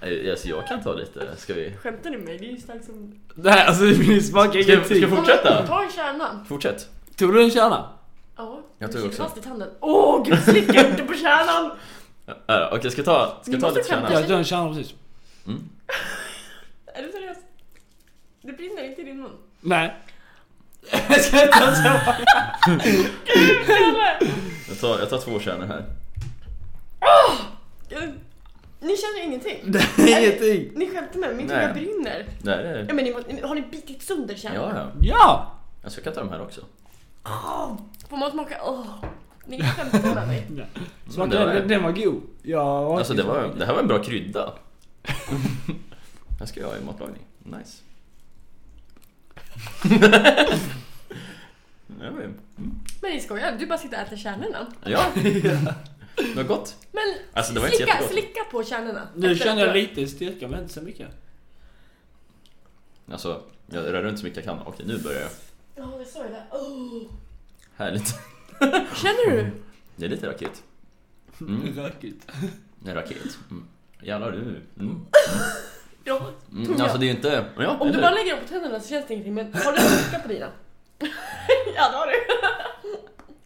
Speaker 1: Eh, Alltså jag kan ta lite, ska vi?
Speaker 2: Skämtar ni med mig? Det är ju starkt som...
Speaker 3: Nej alltså det smakar
Speaker 1: Ska, ska
Speaker 3: ingenting.
Speaker 1: jag fortsätta?
Speaker 2: Ta en kärna.
Speaker 1: Fortsätt.
Speaker 3: Tog du en kärna?
Speaker 2: Ja.
Speaker 1: Jag
Speaker 2: du
Speaker 1: tog också.
Speaker 2: sitter fast i tanden. Åh gud, slicka inte på kärnan!
Speaker 1: Ja, ja, Okej, ska jag ta, ska
Speaker 2: Ni
Speaker 1: jag ta
Speaker 2: måste
Speaker 1: lite kärna? Mm.
Speaker 2: skämta.
Speaker 3: Jag tog en kärna precis.
Speaker 2: Är du seriös? Det brinner inte i din mun.
Speaker 3: Nej. Jag ska inte ens ha-
Speaker 1: Jag tar, jag tar två kärnor här.
Speaker 2: Jag- Ni känner ingenting?
Speaker 3: Det är ingenting.
Speaker 2: Ni skämtar med mig, min
Speaker 1: Nej.
Speaker 2: tunga brinner.
Speaker 1: Det här är...
Speaker 2: Ja, men ni, må- har ni bitit sönder
Speaker 1: Ja,
Speaker 2: kärnan?
Speaker 1: ja.
Speaker 3: Ja!
Speaker 1: Alltså, jag kan ta de här också.
Speaker 2: Får man smaka? Åh! Ni skämtar med mig.
Speaker 3: Smakade
Speaker 1: Mm, Det var-
Speaker 3: den, den var god. Ja,
Speaker 1: Alltså, det, var, det här var en bra krydda. här ska jag ha i matlagning. Nice. Ja, men-
Speaker 2: Men ni skojar, du bara sitter och äter kärnorna.
Speaker 1: ja. Det var gott.
Speaker 2: Men
Speaker 1: Alltså, det var inte
Speaker 2: slicka,
Speaker 1: jättegott.
Speaker 2: slicka på kärnorna.
Speaker 3: Nu
Speaker 2: Efter-
Speaker 3: känner jag lite styrka men inte så mycket.
Speaker 1: Alltså, jag rör runt så mycket jag kan. Okej, nu börjar jag.
Speaker 2: Ja, det sa jag där. Åh.
Speaker 1: Härligt.
Speaker 2: Känner du?
Speaker 1: Det är lite raket. Mm.
Speaker 3: Rökigt.
Speaker 1: En raket. Mm. Jävlar du. Mm.
Speaker 2: Ja.
Speaker 1: Mm. Alltså det är ju inte... Ja,
Speaker 2: Om du
Speaker 1: eller?
Speaker 2: bara lägger dem på tänderna så känns det ingenting, men har du slicka på dina? ja, det har du.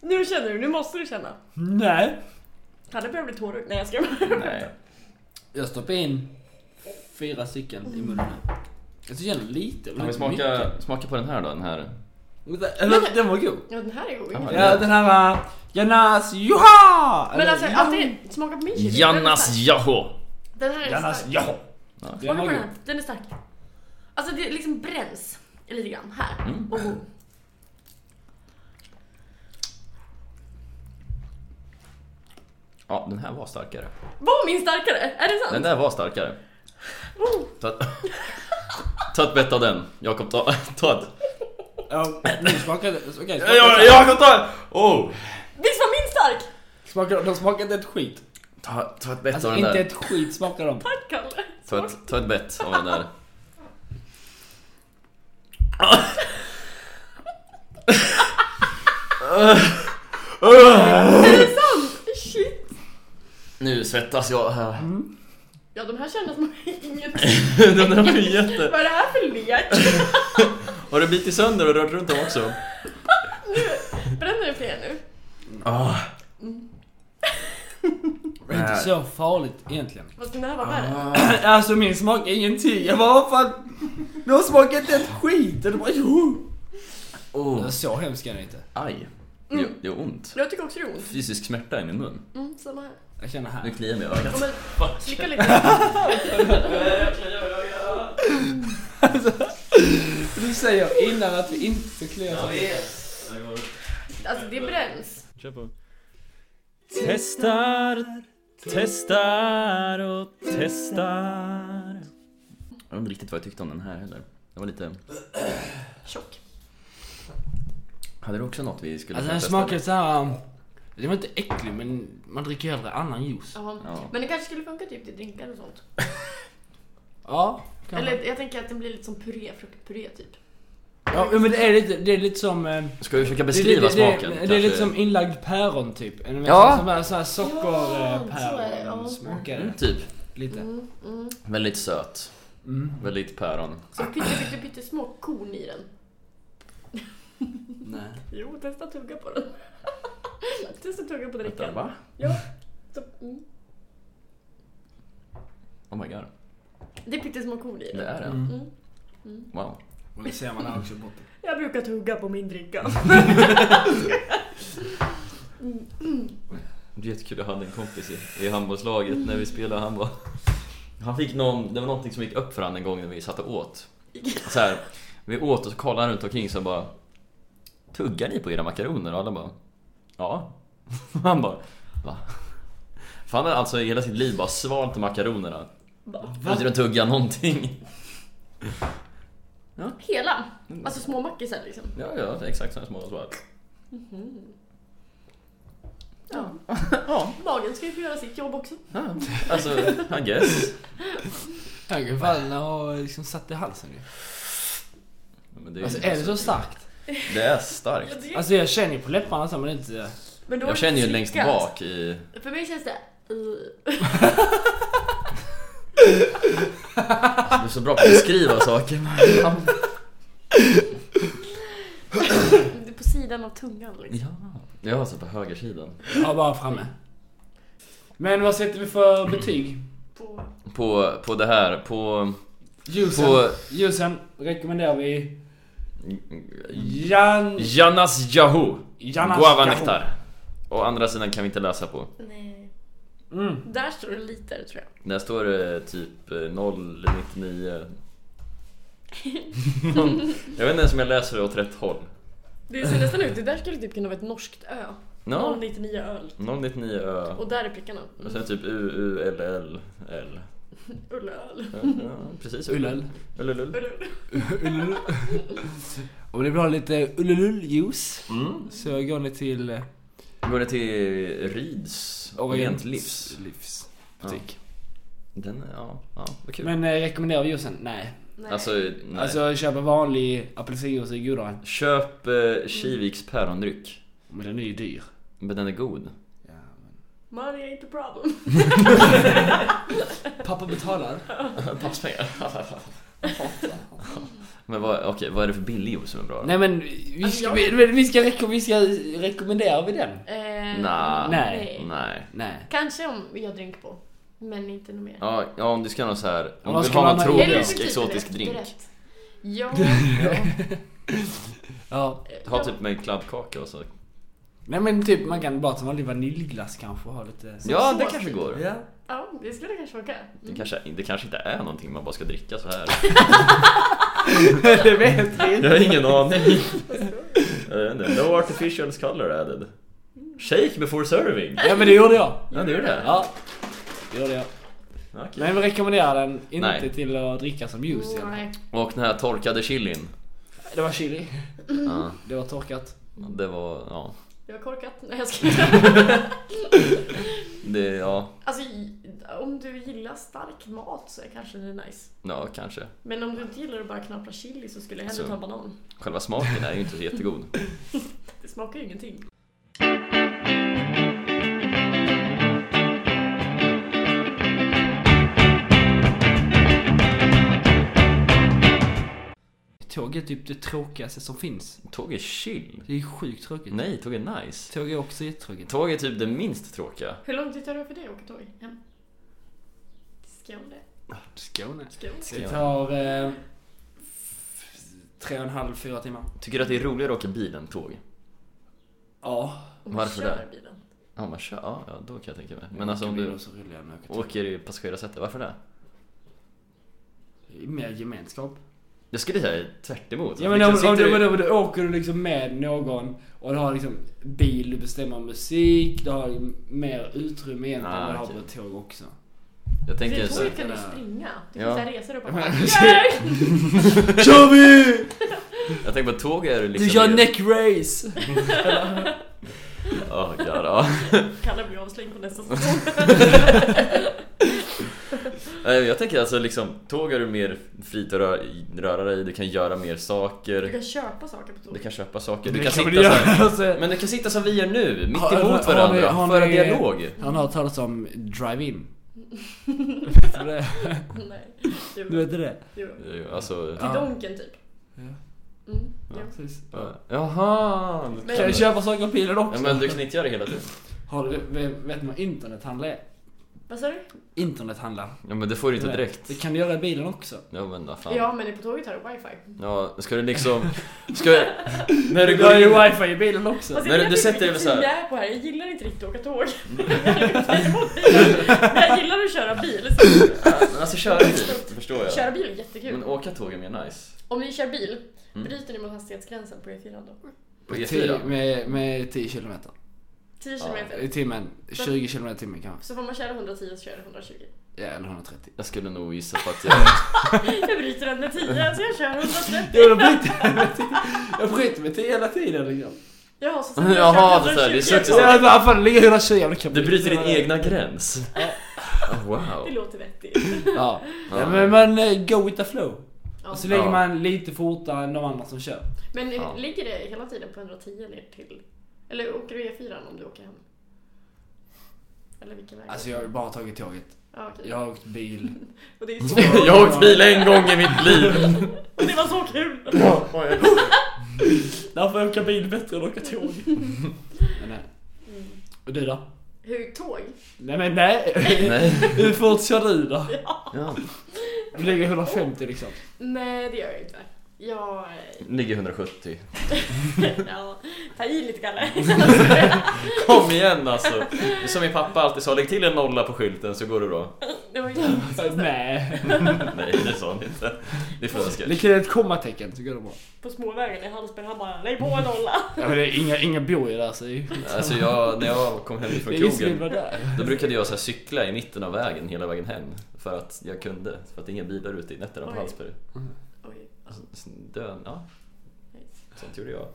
Speaker 2: nu känner du, nu måste du känna.
Speaker 3: Nej.
Speaker 2: Kalle börjar bli tårögd. Nej, jag ska bara...
Speaker 1: Nej.
Speaker 3: Jag stoppar in fyra stycken i munnen. Jag känner lite. men
Speaker 1: Kan vi
Speaker 3: inte
Speaker 1: smaka,
Speaker 3: mycket.
Speaker 1: smaka på den här då? Den här.
Speaker 3: Vänta, eller, Den var god.
Speaker 2: Ja, den här är god.
Speaker 1: Ja,
Speaker 3: Ja, den här var... Janas Joha!
Speaker 2: Men
Speaker 3: Eller,
Speaker 2: alltså,
Speaker 3: Jan-
Speaker 2: alltid smaka på min chili.
Speaker 1: Jannas Jaho!
Speaker 2: Den här är stark. Den här är
Speaker 3: Janas
Speaker 2: stark.
Speaker 3: Joha! Den
Speaker 2: Kolla
Speaker 3: var
Speaker 2: på den
Speaker 3: god.
Speaker 2: här. Den är stark. Alltså, det liksom bränns lite grann här.
Speaker 1: Mm.
Speaker 2: Och god.
Speaker 1: Ja, den här var starkare.
Speaker 2: Var min starkare? Är det sant?
Speaker 1: Den där var starkare.
Speaker 2: Oh,
Speaker 1: Ta, ett- ta ett bett av den. Jakob, ta, ta ett.
Speaker 3: Ja, nu smakade... Okej,
Speaker 1: Ja, ja, Jakob, ta! Oh!
Speaker 2: visst var min stark?
Speaker 3: smakade, de smakade inte ett skit.
Speaker 1: Ta, ta ett bett
Speaker 3: Alltså
Speaker 1: av den
Speaker 3: inte
Speaker 1: där.
Speaker 3: ett skit smakade de.
Speaker 2: Tack Kalle.
Speaker 1: Ta ett, ta ett bett av den där.
Speaker 2: Är det sant? Shit.
Speaker 1: Nu svettas jag här.
Speaker 3: Mm.
Speaker 2: Ja, de här kändes som inget.
Speaker 1: den där var ju jätte...
Speaker 2: Vad är det här för lek?
Speaker 1: Har du bitit sönder och rört runt dem också?
Speaker 2: Bränner det fler nu?
Speaker 1: Ah.
Speaker 3: Det är inte
Speaker 1: Nej.
Speaker 3: så farligt egentligen.
Speaker 2: Fast den här var värre.
Speaker 1: Ah.
Speaker 3: Alltså min smak är ingenting. Jag bara fan... De smakar inte ett skit. Och de bara jo.
Speaker 1: Oh.
Speaker 3: Så hemsk är den inte.
Speaker 1: Aj. Det, det är ont.
Speaker 2: Jag tycker också det är ont.
Speaker 1: Fysisk smärta i min mun.
Speaker 2: Mm, samma här.
Speaker 3: Jag känner
Speaker 1: Nu
Speaker 3: här.
Speaker 1: kliar jag mig i ögat.
Speaker 2: Ja, men, slicka lite.
Speaker 3: Du säger innan att vi inte ska klia oss.
Speaker 2: Alltså, det bränns.
Speaker 1: Kör på. Testar, testar och testar. Jag vet inte riktigt vad jag tyckte om den här heller. Det var lite...
Speaker 2: Tjock.
Speaker 1: Hade du också något vi skulle
Speaker 3: Alltså
Speaker 1: få
Speaker 3: den
Speaker 1: testa?
Speaker 3: smakar så här. Den var inte äcklig men man dricker hellre annan juice.
Speaker 2: Jaha.
Speaker 1: Ja.
Speaker 2: Men det kanske skulle funka typ till drinkar och sånt.
Speaker 3: Ja. kan man.
Speaker 2: Eller jag tänker att den blir lite som puré, fruktpuré typ.
Speaker 3: Ja men det är lite, det är lite som... eh,
Speaker 1: Ska vi försöka beskriva
Speaker 3: det, det,
Speaker 1: smaken?
Speaker 3: Det, det,
Speaker 1: kanske?
Speaker 3: är lite som inlagd päron typ. En
Speaker 1: Ja.
Speaker 3: ja. Som är så här
Speaker 2: Ja, så är det,
Speaker 3: sockerpäron.
Speaker 2: ja.
Speaker 3: Smakar det
Speaker 1: Mm, typ.
Speaker 3: lite.
Speaker 2: Mm, mm.
Speaker 1: Väldigt söt.
Speaker 3: Mm.
Speaker 1: Väldigt päron.
Speaker 2: Så pytte, pytte, pytte små korn i den.
Speaker 3: Nej.
Speaker 2: Jo, testa tugga på den. testa tugga på
Speaker 1: Vänta,
Speaker 2: drickan.
Speaker 1: va?
Speaker 2: Ja. Så, mm.
Speaker 1: Oh my god.
Speaker 2: Det är pyttesmå korn i
Speaker 1: Det
Speaker 2: den.
Speaker 1: är det.
Speaker 3: Mm.
Speaker 2: Mm.
Speaker 1: Wow.
Speaker 3: Och det ser man här också i botten.
Speaker 2: Jag brukar tugga på min dricka.
Speaker 1: Det är jättekul, jag hade en kompis i, i handbollslaget när vi spelade handboll. Han fick någon, det var någonting som gick upp för han en gång när vi satt och åt. Så här, vi åt och så kollade han runt omkring så bara Tuggar ni på era makaroner? Och alla bara Ja. Han bara Va? För han hade alltså i hela sitt liv bara svalt makaronerna. Va? Inte att tugga någonting.
Speaker 2: Hela?
Speaker 3: Mm.
Speaker 2: Alltså små mackisar liksom?
Speaker 1: Ja, ja, det är exakt sådana små svar.
Speaker 2: Ja.
Speaker 1: Ja,
Speaker 2: Dagen ska ju få göra sitt jobb också.
Speaker 1: ja. Alltså, I guess.
Speaker 3: Jag kan fan ha liksom satt i halsen ju.
Speaker 1: Men det är,
Speaker 3: Alltså är det så starkt?
Speaker 1: det är starkt.
Speaker 2: det-
Speaker 3: Alltså jag känner ju på läpparna så men det är inte...
Speaker 2: men då är
Speaker 1: Jag
Speaker 2: det
Speaker 1: känner ju
Speaker 2: slickat.
Speaker 1: längst bak i...
Speaker 2: För mig känns det... eh,
Speaker 1: Du är så bra på att beskriva saker.
Speaker 2: det är på sidan av tungan liksom.
Speaker 1: Ja, jag har så på högersidan.
Speaker 3: Ja bara framme. Men vad sätter vi för betyg?
Speaker 1: Mm.
Speaker 2: På...
Speaker 1: På, på det här, på...
Speaker 3: Juicen.
Speaker 1: På-
Speaker 3: Juicen rekommenderar vi Jan...
Speaker 1: Janas Yahoo!
Speaker 3: Janas
Speaker 1: Guava
Speaker 3: Yahoo.
Speaker 1: nektar. Å andra sidan kan vi inte läsa på.
Speaker 2: Nej.
Speaker 3: Mm.
Speaker 2: Där står det liter tror jag.
Speaker 1: Där står det typ eh, 099. jag vet inte ens om jag läser det åt rätt håll.
Speaker 2: Det ser nästan ut, det där skulle typ kunna vara ett norskt ö.
Speaker 1: No.
Speaker 2: 099 öl.
Speaker 1: 099 ö.
Speaker 2: Och där är prickarna. Mm.
Speaker 1: Och sen typ u u l l l
Speaker 2: Ullöl.
Speaker 1: Ja, precis.
Speaker 3: Ullel.
Speaker 1: Ullelull.
Speaker 2: Ullöl.
Speaker 3: Ullul. Om ni vill ha lite ullulul-juice
Speaker 1: Mm.
Speaker 3: så går ni till eh,
Speaker 1: Går det till Rids Orient Livs?
Speaker 3: Livs butik.
Speaker 1: Den, ja, ja, vad kul.
Speaker 3: Men eh, rekommenderar vi juicen? Nej.
Speaker 2: Nej.
Speaker 1: alltså, nej.
Speaker 3: Alltså köpa vanlig apelsinjuice är godare.
Speaker 1: Köp eh, Kiviks pärondryck.
Speaker 3: Men den är ju dyr.
Speaker 1: Men den är god.
Speaker 3: Ja, men...
Speaker 2: Money ain't a problem.
Speaker 3: Pappa betalar.
Speaker 1: Papperspengar. men vad, okej, vad är det för billig juice som är bra?
Speaker 3: Nej men vi
Speaker 1: Alltså,
Speaker 3: ska, vi, men vi ska, reko- vi ska rekommendera vi den?
Speaker 2: Eh,
Speaker 1: Nah.
Speaker 3: Nej.
Speaker 1: Nej.
Speaker 3: Nej.
Speaker 2: Kanske om jag drink på. Men inte något mer.
Speaker 1: Ja, ja, om du ska ha någon så här, om
Speaker 3: vad
Speaker 1: du vill
Speaker 3: ska
Speaker 1: ha
Speaker 3: man
Speaker 1: någon
Speaker 3: ha i?
Speaker 2: Eller
Speaker 1: tropisk
Speaker 2: för typ
Speaker 1: exotisk
Speaker 2: rätt,
Speaker 1: drink.
Speaker 2: rätt. Ja.
Speaker 3: Ja.
Speaker 1: Ha typ med en kladdkaka och så.
Speaker 3: Nej men typ man kan bara ta vanlig vaniljglass kanske och ha lite...
Speaker 1: Ja,
Speaker 2: så
Speaker 1: det
Speaker 2: så
Speaker 1: kanske
Speaker 2: fint.
Speaker 1: går.
Speaker 3: Ja.
Speaker 2: Ja, det skulle kanske funka.
Speaker 1: Det kanske, det kanske inte är någonting man bara ska dricka så här.
Speaker 3: det vet vi
Speaker 1: Jag
Speaker 3: inte.
Speaker 1: har ingen aning. Jag vet inte. No artificial color added. Shake before serving.
Speaker 3: Ja men det gjorde jag.
Speaker 2: Mm.
Speaker 1: Ja, det gjorde det.
Speaker 3: Ja. Det gjorde jag.
Speaker 1: Ja, okej.
Speaker 3: Men vi rekommenderar den inte
Speaker 1: Nej.
Speaker 3: till att dricka som juice i alla fall.
Speaker 2: Nej.
Speaker 1: Och den här torkade chilin.
Speaker 3: Det var chili.
Speaker 1: Ja,
Speaker 3: Det var torkat.
Speaker 1: det var, ja.
Speaker 2: Jag har korkat. Nej, jag ska...
Speaker 1: Det, ja.
Speaker 2: Alltså, om du gillar stark mat så är kanske det är nice.
Speaker 1: Ja, kanske.
Speaker 2: Men om du inte gillar att bara knapra chili så skulle jag hellre
Speaker 1: Så.
Speaker 2: ta banan.
Speaker 1: Själva smaken är ju inte så jättegod.
Speaker 2: Det smakar ju ingenting.
Speaker 3: Tåg är typ det tråkigaste som finns.
Speaker 1: Tåg är chill.
Speaker 3: Det är sjukt tråkigt.
Speaker 1: Nej, tåg är nice.
Speaker 3: Tåg är också jättetråkigt.
Speaker 1: Tåg är typ det minst tråkiga.
Speaker 2: Hur lång tid tar det för dig att åka tåg hem? Skåne.
Speaker 3: Skåne.
Speaker 2: Skåne.
Speaker 3: Det tar... Eh, f- tre och en halv, fyra timmar.
Speaker 1: Tycker du att det är roligare att åka bil än tåg?
Speaker 3: Ja.
Speaker 2: Om du
Speaker 1: Varför
Speaker 2: kör
Speaker 1: det?
Speaker 2: bilen.
Speaker 1: Ja, man kör, ja, ja, då kan jag tänka mig. Men alltså om
Speaker 3: Åker bil
Speaker 1: du
Speaker 3: och så rullar jag med åker tåg.
Speaker 1: åker i passagerarsätet, varför det?
Speaker 3: Det är Mer gemenskap.
Speaker 1: Jag skulle säga tvärt emot.
Speaker 3: Ja men om,
Speaker 1: Liksom,
Speaker 3: om,
Speaker 1: sitter
Speaker 3: du,
Speaker 1: du-
Speaker 3: om, du, om du åker du liksom med någon och du har liksom bil, du bestämmer musik, du har ju mer utrymme egentligen
Speaker 1: Ah,
Speaker 3: än vad du
Speaker 1: okej.
Speaker 3: har på ett tåg också.
Speaker 1: Jag
Speaker 2: Det
Speaker 1: tänker
Speaker 2: är
Speaker 1: så här,
Speaker 2: tåget kan du
Speaker 3: Ja.
Speaker 2: springa. Du
Speaker 1: Ja.
Speaker 2: kan ja. resa dig upp och
Speaker 3: Ja,
Speaker 2: bara
Speaker 3: men-
Speaker 2: "Yay!"
Speaker 3: Kör vi!
Speaker 1: jag tänker på tåg är liksom...
Speaker 3: Du gör neckrace!
Speaker 1: Åh, god, ja.
Speaker 2: Kalle blir avslängd på nästa säsong.
Speaker 1: Nej, Jag tänker alltså liksom, tåg är du mer fritt att röra, röra dig, du kan göra mer
Speaker 2: Du
Speaker 1: saker,
Speaker 2: kan köpa saker på
Speaker 1: du
Speaker 2: tåget.
Speaker 1: kan köpa saker, du
Speaker 3: Det
Speaker 1: kan
Speaker 3: kan
Speaker 1: sitta
Speaker 3: man
Speaker 1: så
Speaker 3: göra,
Speaker 1: här.
Speaker 3: alltså.
Speaker 1: Men du kan sitta som vi gör nu, mitt
Speaker 3: Har- har-
Speaker 1: emot
Speaker 3: har ni- har
Speaker 1: varandra, föra
Speaker 3: ni-
Speaker 1: dialog.
Speaker 3: Har ni hört talas om drive-in? Vet du det?
Speaker 2: Nej.
Speaker 3: Du
Speaker 2: Jo.
Speaker 3: vet det?
Speaker 2: Jo.
Speaker 1: Jo, Alltså,
Speaker 2: Till
Speaker 3: Ja.
Speaker 2: Donken typ.
Speaker 3: Ja.
Speaker 2: Mm.
Speaker 1: Ja.
Speaker 2: Jo.
Speaker 3: Precis.
Speaker 1: ja. jaha. du
Speaker 2: Men-
Speaker 3: Kan
Speaker 1: kan-
Speaker 3: du köpa saker på bilen
Speaker 1: Ja,
Speaker 3: också?
Speaker 1: men du kan inte göra det hela tiden.
Speaker 3: Har du, vet vet ni vad internethandla är?
Speaker 2: Vad sa du?
Speaker 3: Internethandla.
Speaker 1: Ja men det får du inte direkt.
Speaker 3: Det kan du göra i bilen också.
Speaker 1: Ja men vad fan.
Speaker 2: Ja men på tåget har du wifi. Alltså,
Speaker 1: Ja, ska du liksom... Ska När du
Speaker 3: Du
Speaker 1: går
Speaker 3: har ju
Speaker 1: in...
Speaker 3: wifi i bilen också.
Speaker 2: Alltså,
Speaker 1: När
Speaker 2: jag
Speaker 1: du-
Speaker 2: vet
Speaker 1: du
Speaker 2: inte
Speaker 1: sätter dig
Speaker 2: vilken
Speaker 1: så här. Mm.
Speaker 2: tid Jag är på här, jag gillar inte riktigt att åka tåg. Men jag gillar att köra bil. Så
Speaker 1: Ja, men Alltså köra bil, det förstår jag.
Speaker 2: köra bil är jättekul.
Speaker 1: Men åka tåg är mer nice.
Speaker 2: Om ni kör bil,
Speaker 1: Mm.
Speaker 2: bryter ni mot hastighetsgränsen på E4 då?
Speaker 1: På
Speaker 3: Tio-
Speaker 1: E4.
Speaker 3: Med, med 10 kilometer.
Speaker 2: 10
Speaker 1: Ja,
Speaker 3: I
Speaker 2: kilometer.
Speaker 3: timmen. 20 kilometer i timmen kanske.
Speaker 2: Så får man köra 110 så kör jag 120.
Speaker 3: Ja, eller 130.
Speaker 1: Jag skulle nog gissa på att jag...
Speaker 2: Jag bryter den med 10 så jag kör 130.
Speaker 3: Jag bryter mig till- jag bryter mig till hela tiden liksom.
Speaker 2: Jaha, så sen har jag
Speaker 1: Jaha,
Speaker 2: kört
Speaker 1: det är så här, det är
Speaker 2: 120.
Speaker 3: Så
Speaker 1: successivt.
Speaker 3: jag bara, fan det ligger 120 jävla kan
Speaker 1: Du bryter din egna gräns. Oh,
Speaker 2: Det
Speaker 1: wow.
Speaker 2: låter vettigt.
Speaker 3: Ja. ja. Men man eh, go with the flow.
Speaker 2: Ja.
Speaker 3: Och så lägger
Speaker 1: Ja.
Speaker 3: man lite fortare än de andra som kör.
Speaker 2: Men
Speaker 1: Ja.
Speaker 2: ligger det hela tiden på 110 ner till... Eller åker du E4 om du åker hem? Eller vilken väg?
Speaker 3: Alltså jag har ju bara tagit tåget.
Speaker 2: Ja, okej.
Speaker 3: Jag har åkt bil.
Speaker 2: Och
Speaker 1: Mm.
Speaker 2: det är så...
Speaker 1: Jag har åkt bil en gång i mitt liv.
Speaker 2: Och det var så kul!
Speaker 3: Därför åka bil bättre än att åka tåg. Men, nej. Och du då?
Speaker 2: Hur tåg?
Speaker 3: Nej men nej.
Speaker 1: Nej.
Speaker 3: Hur fort kör du då?
Speaker 1: Ja.
Speaker 3: Du ligger 150 liksom.
Speaker 2: Nej, det gör jag inte. Jag...
Speaker 1: Ligger 170.
Speaker 2: ja, ta i lite Kalle.
Speaker 1: Kom igen alltså! Det är Som min pappa alltid sa, lägg till en nolla på skylten så går det bra.
Speaker 2: Det var ju...
Speaker 3: Nej.
Speaker 1: Nej, det sa han inte. Det fuskar.
Speaker 3: Det kan ett kommatecken tycker jag det är bra.
Speaker 2: På småvägen i Hallsberg, han bara lägg på en nolla.
Speaker 3: Ja, men det är inga, inga bor ju där så det är ju
Speaker 1: Alltså jag, när jag kom hem från
Speaker 3: Det är ingen som vill
Speaker 1: krogen
Speaker 3: vara där.
Speaker 1: Då brukade jag så här cykla i mitten av vägen hela vägen hem För att jag kunde, för att det är inga bilar ute i nätterna på
Speaker 2: Oj.
Speaker 1: Hallsberg Alltså,
Speaker 2: Oj.
Speaker 1: S- Dön, ja Sånt gjorde jag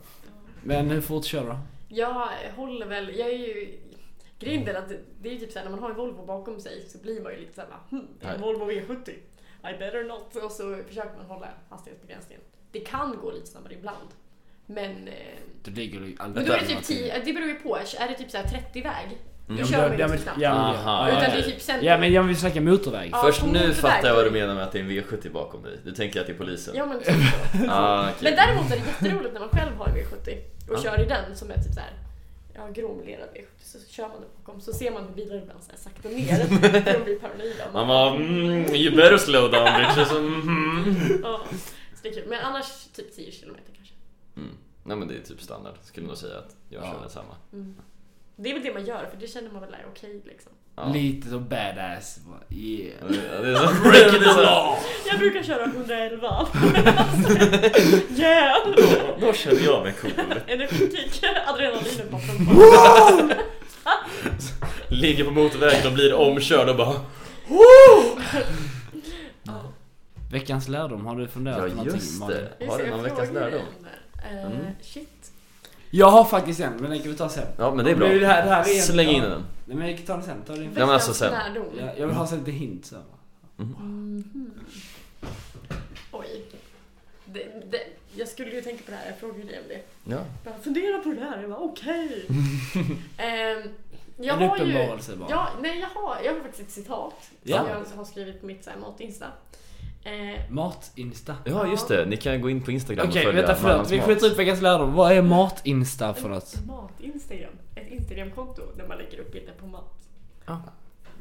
Speaker 3: Men hur fort kör du då?
Speaker 2: Jag håller väl, jag är ju... Grejen är att det är ju typ såhär när man har en Volvo bakom sig så blir man ju lite såhär hm,
Speaker 1: Nej.
Speaker 2: en Volvo V70. I better not. Och så försöker man hålla hastighetsbegränsningen. Det kan gå lite snabbare ibland. Men, eh,
Speaker 3: Du ligger ju
Speaker 2: men
Speaker 3: aldrig
Speaker 2: då är det
Speaker 3: över
Speaker 2: typ 10, det beror ju på. Är det typ såhär 30-väg, då
Speaker 1: Mm.
Speaker 2: kör man ju
Speaker 3: Ja,
Speaker 2: inte
Speaker 3: men-
Speaker 2: så snabbt.
Speaker 3: ja, men-
Speaker 1: Aha,
Speaker 3: ja,
Speaker 2: Utan
Speaker 3: ja,
Speaker 2: det är
Speaker 3: ja.
Speaker 2: typ sen...
Speaker 3: Ja men jag vill snacka motorväg.
Speaker 2: Ja,
Speaker 1: Först
Speaker 2: på
Speaker 1: nu
Speaker 2: motorväg.
Speaker 1: fattar jag vad du menar med att det är en V70 bakom dig Du tänker att det är polisen?
Speaker 2: Ja, men, typ så.
Speaker 1: Ah,
Speaker 2: men
Speaker 1: okej.
Speaker 2: däremot är det jätteroligt när man själv har en V70 och
Speaker 1: Ja.
Speaker 2: kör i den som är typ såhär Ja, gråmelerad V70 så kör man den bakom så ser man hur bilar ibland såhär sakta ner för de blir paranoida.
Speaker 1: Man bara mm, you better slow down bitches mm.
Speaker 2: Ja, så det är kul. Men annars typ 10 kilometer kanske.
Speaker 1: Mm. Nej men det är typ standard, skulle nog säga att jag
Speaker 3: Ja.
Speaker 1: kör den samma
Speaker 2: Mm. Det är väl det man gör för det känner man väl är okej liksom.
Speaker 1: ja.
Speaker 3: Lite så badass. bara, Yeah.
Speaker 1: Ja, det är så, break it down.
Speaker 2: Jag brukar köra Alltså, 111. yeah!
Speaker 1: Då känner jag mig cool
Speaker 2: Energikick, adrenalinet bara
Speaker 1: Ligger på motorvägen och blir omkörd och bara
Speaker 3: Veckans lärdom, har du funderat på någonting? Malin?
Speaker 1: Har du någon veckans lärdom? Mm.
Speaker 2: Eh, Shit.
Speaker 3: Jag har faktiskt en, men den kan vi ta sen.
Speaker 1: Ja men det är
Speaker 3: Men Det
Speaker 1: bra.
Speaker 3: här, det här är en-
Speaker 1: Släng in
Speaker 3: ja.
Speaker 1: den.
Speaker 3: Nej men jag kan ta den sen, ta den
Speaker 1: men alltså sen.
Speaker 2: lärdom.
Speaker 3: jag, jag vill ha sen lite hint så.
Speaker 2: Mhm. Oj. Det, det, jag skulle ju tänka på det här, jag frågade dig om det.
Speaker 1: Ja.
Speaker 2: Bara, fundera på det här, jag bara okej. Ehm, jag
Speaker 3: en
Speaker 2: har ju...
Speaker 3: uppenbarelse bara.
Speaker 2: Ja, nej, jag, har, jag har faktiskt ett citat
Speaker 1: Ja.
Speaker 2: som jag har skrivit på mitt så här matinsta. Eh,
Speaker 3: Matinsta.
Speaker 1: ja just det, ni kan gå in på Instagram
Speaker 3: Okej,
Speaker 1: och följa
Speaker 3: vänta förlåt.
Speaker 1: Mannans
Speaker 3: Vi
Speaker 1: mat.
Speaker 3: skjuter upp veckans lärdom. Vad är matinsta för något?
Speaker 2: Eh, Mat-instagram. Ett Instagramkonto där man lägger upp bilder på mat.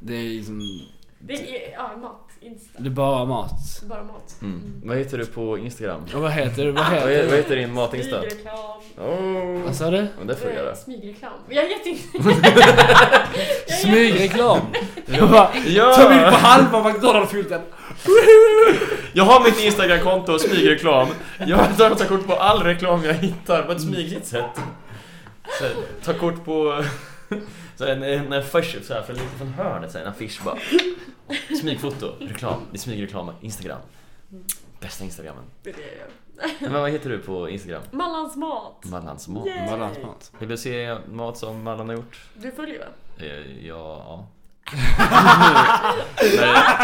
Speaker 3: Det är liksom...
Speaker 2: Det är, ja, mat-insta.
Speaker 3: Det är bara mat.
Speaker 2: Bara mat.
Speaker 1: Mm. Vad heter du på Instagram?
Speaker 3: Och vad heter det? Vad
Speaker 1: Vad,
Speaker 3: heter
Speaker 1: he-
Speaker 3: Alltså-
Speaker 1: vad
Speaker 3: det?
Speaker 1: heter din matinsta?
Speaker 2: Smygreklam.
Speaker 1: Oh.
Speaker 3: Vad sa du?
Speaker 1: Men det får du
Speaker 2: Eh,
Speaker 1: göra.
Speaker 2: Smygreklam. Jag är jätte...
Speaker 3: Smygreklam! Jag bara, Ta bild på
Speaker 1: Ja!
Speaker 3: halva McDonalds-skylten!
Speaker 1: Jag har mitt Instagram-konto och smygreklam. Jag tar ta kort på all reklam jag hittar på ett smygigt sätt. Så, här, ta kort på så här, en, en affisch så här, från, lite från hörnet, så här, en affisch bara. Smygfoto, reklam. Det är smygreklam, Instagram. Bästa Instagrammen.
Speaker 2: Det är det jag gör.
Speaker 1: Men vad heter du på Instagram?
Speaker 2: Mallans mat.
Speaker 1: Mallans mat.
Speaker 2: Yeah.
Speaker 3: Balansmat.
Speaker 1: Vill du se mat som Mallan har gjort?
Speaker 2: Du följer va?
Speaker 1: Eh, Ja... ja. nej,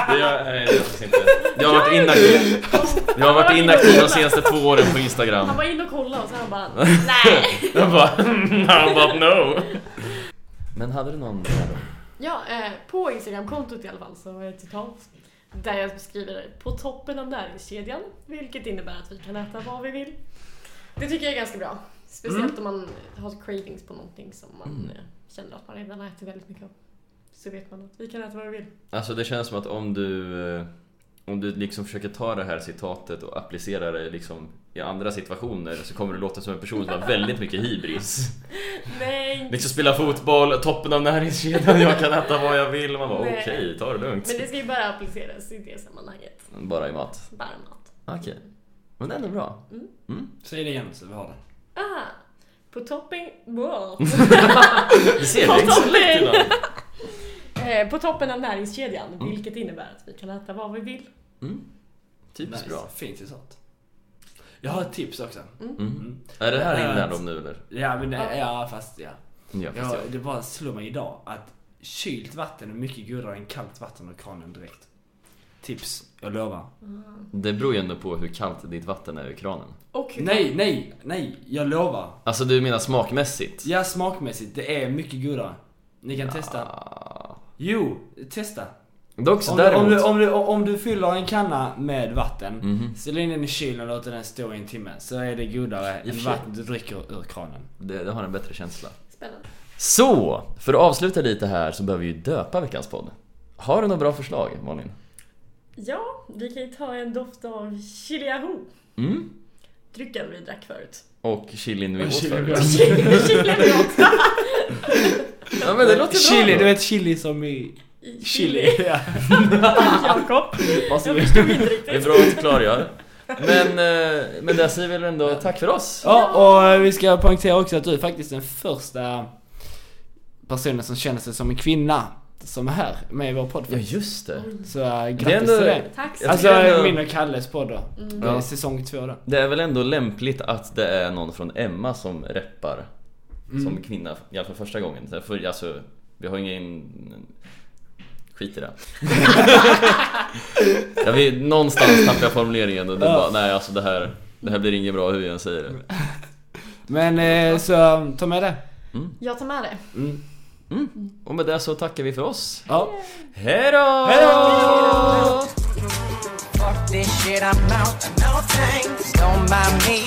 Speaker 1: det gör, nej, det gör jag faktiskt inte. Jag har varit inaktiv. Jag har varit inaktiv de senaste två åren på Instagram.
Speaker 2: Han var inne och kollade och så han bara nej.
Speaker 1: Jag bara, how about no? Men hade du någon där då?
Speaker 2: Ja, eh, på Instagramkontot i alla fall så har jag ett citat där jag beskriver på toppen av näringskedjan, vilket innebär att vi kan äta vad vi vill. Det tycker jag är ganska bra.
Speaker 1: Mm.
Speaker 2: Speciellt om man har cravings på någonting som man eh, känner att man redan har ätit väldigt mycket av. Så vet man att vi kan äta vad vi vill.
Speaker 1: Alltså det känns som att om du eh, om du liksom försöker ta det här citatet och applicera det liksom i andra situationer så kommer du låta som en person som har väldigt mycket hybris.
Speaker 2: Nej!
Speaker 1: Liksom spela fotboll, toppen av näringskedjan, jag kan äta vad jag vill. Man bara okej,
Speaker 2: Nej.
Speaker 1: ta det lugnt.
Speaker 2: Men det ska ju bara appliceras i det sammanhanget.
Speaker 1: Bara i mat.
Speaker 2: Bara mat.
Speaker 1: Okej. Men det är ändå bra.
Speaker 3: Säg det igen så vi har det.
Speaker 2: Ah! På topping... Wow.
Speaker 1: Du ser,
Speaker 2: Ta
Speaker 1: det är inte så
Speaker 2: toppen!
Speaker 1: lätt ibland.
Speaker 2: Eh, på toppen av näringskedjan, vilket innebär att vi kan äta vad vi vill.
Speaker 1: Typiskt bra.
Speaker 3: Fint citat. Jag har ett tips också.
Speaker 1: Mm. Är det här din lärdom nu eller?
Speaker 3: Ja men det, ja fast ja.
Speaker 1: Ja, fast
Speaker 3: ja
Speaker 1: jag.
Speaker 3: det bara slog mig idag att kylt vatten är mycket godare än kallt vatten ur kranen direkt. Tips, jag lovar.
Speaker 1: Det beror ju ändå på hur kallt ditt vatten är i kranen.
Speaker 2: Och hur
Speaker 3: Nej, nej, nej, jag lovar.
Speaker 1: Alltså du menar smakmässigt?
Speaker 3: Ja smakmässigt, det är mycket godare. Ni kan testa.
Speaker 1: Ah.
Speaker 3: Jo, testa.
Speaker 1: Dock så
Speaker 3: Om du, om, du,
Speaker 1: däremot...
Speaker 3: om, du, om du fyller en kanna med vatten,
Speaker 1: Mhm.
Speaker 3: ställ in den i kylen och låter den stå i en timme. Så är det godare
Speaker 1: I och
Speaker 3: än
Speaker 1: för sig.
Speaker 3: vatten du dricker ur kranen.
Speaker 1: Det, det har en bättre känsla.
Speaker 2: Spännande.
Speaker 1: Så! För att avsluta lite här så behöver vi ju döpa veckans podd. Har du några bra förslag Malin?
Speaker 2: Ja, vi kan ju ta en doft av chiliaho.
Speaker 1: Mm?
Speaker 2: drycken vi drack förut.
Speaker 1: Och chilin vi
Speaker 3: Och
Speaker 1: åt
Speaker 3: chilin vi
Speaker 1: förut.
Speaker 3: åt.
Speaker 2: Chili chili vi åt.
Speaker 1: Ja men det låter
Speaker 3: chili,
Speaker 1: bra.
Speaker 3: du
Speaker 1: då.
Speaker 3: vet chili som i
Speaker 2: I
Speaker 3: chili. Ja.
Speaker 2: Jakob.
Speaker 3: Vad
Speaker 2: Jag
Speaker 3: som-
Speaker 2: förstod inte
Speaker 1: Det är
Speaker 2: riktigt.
Speaker 1: bra att du klargör. Men, eh, men där säger vi väl ändå tack för oss.
Speaker 3: Ja, och eh, vi ska poängtera också att du är faktiskt den första personen som känner sig som en kvinna som är här med i vår podd.
Speaker 1: Ja just det.
Speaker 3: Så eh, grattis
Speaker 1: Det är ändå-
Speaker 3: till det.
Speaker 2: Tack så
Speaker 1: Jag
Speaker 3: Alltså
Speaker 1: tycker ändå- Mm.
Speaker 3: min och Kalles podd då. Det är
Speaker 1: Ja.
Speaker 3: Säsong två då.
Speaker 1: Det är väl ändå lämpligt att det är någon från Emma som reppar som
Speaker 3: Mm.
Speaker 1: kvinna, i alla fall första gången. Så För, alltså, vi har ingen... Skit i det. ja, vi, någonstans tappade jag formuleringen och det
Speaker 3: Ja.
Speaker 1: bara, nej alltså det här, det här blir inget bra hur jag än säger det.
Speaker 3: Men eh, så eh, ta med det.
Speaker 2: Jag tar med det.
Speaker 3: Mm.
Speaker 1: Och med det så tackar vi för oss.
Speaker 3: Ja.
Speaker 1: Hej då!
Speaker 3: Hej då!
Speaker 5: Fuck this shit, I'm out. No thanks. Don't mind me.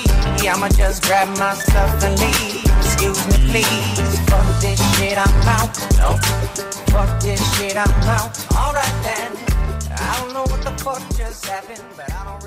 Speaker 5: I'ma just grab my stuff and leave. Excuse me, please. Fuck this shit, I'm out. No. Fuck this shit, I'm out. Alright then. I don't know what the fuck just happened, but I don't really.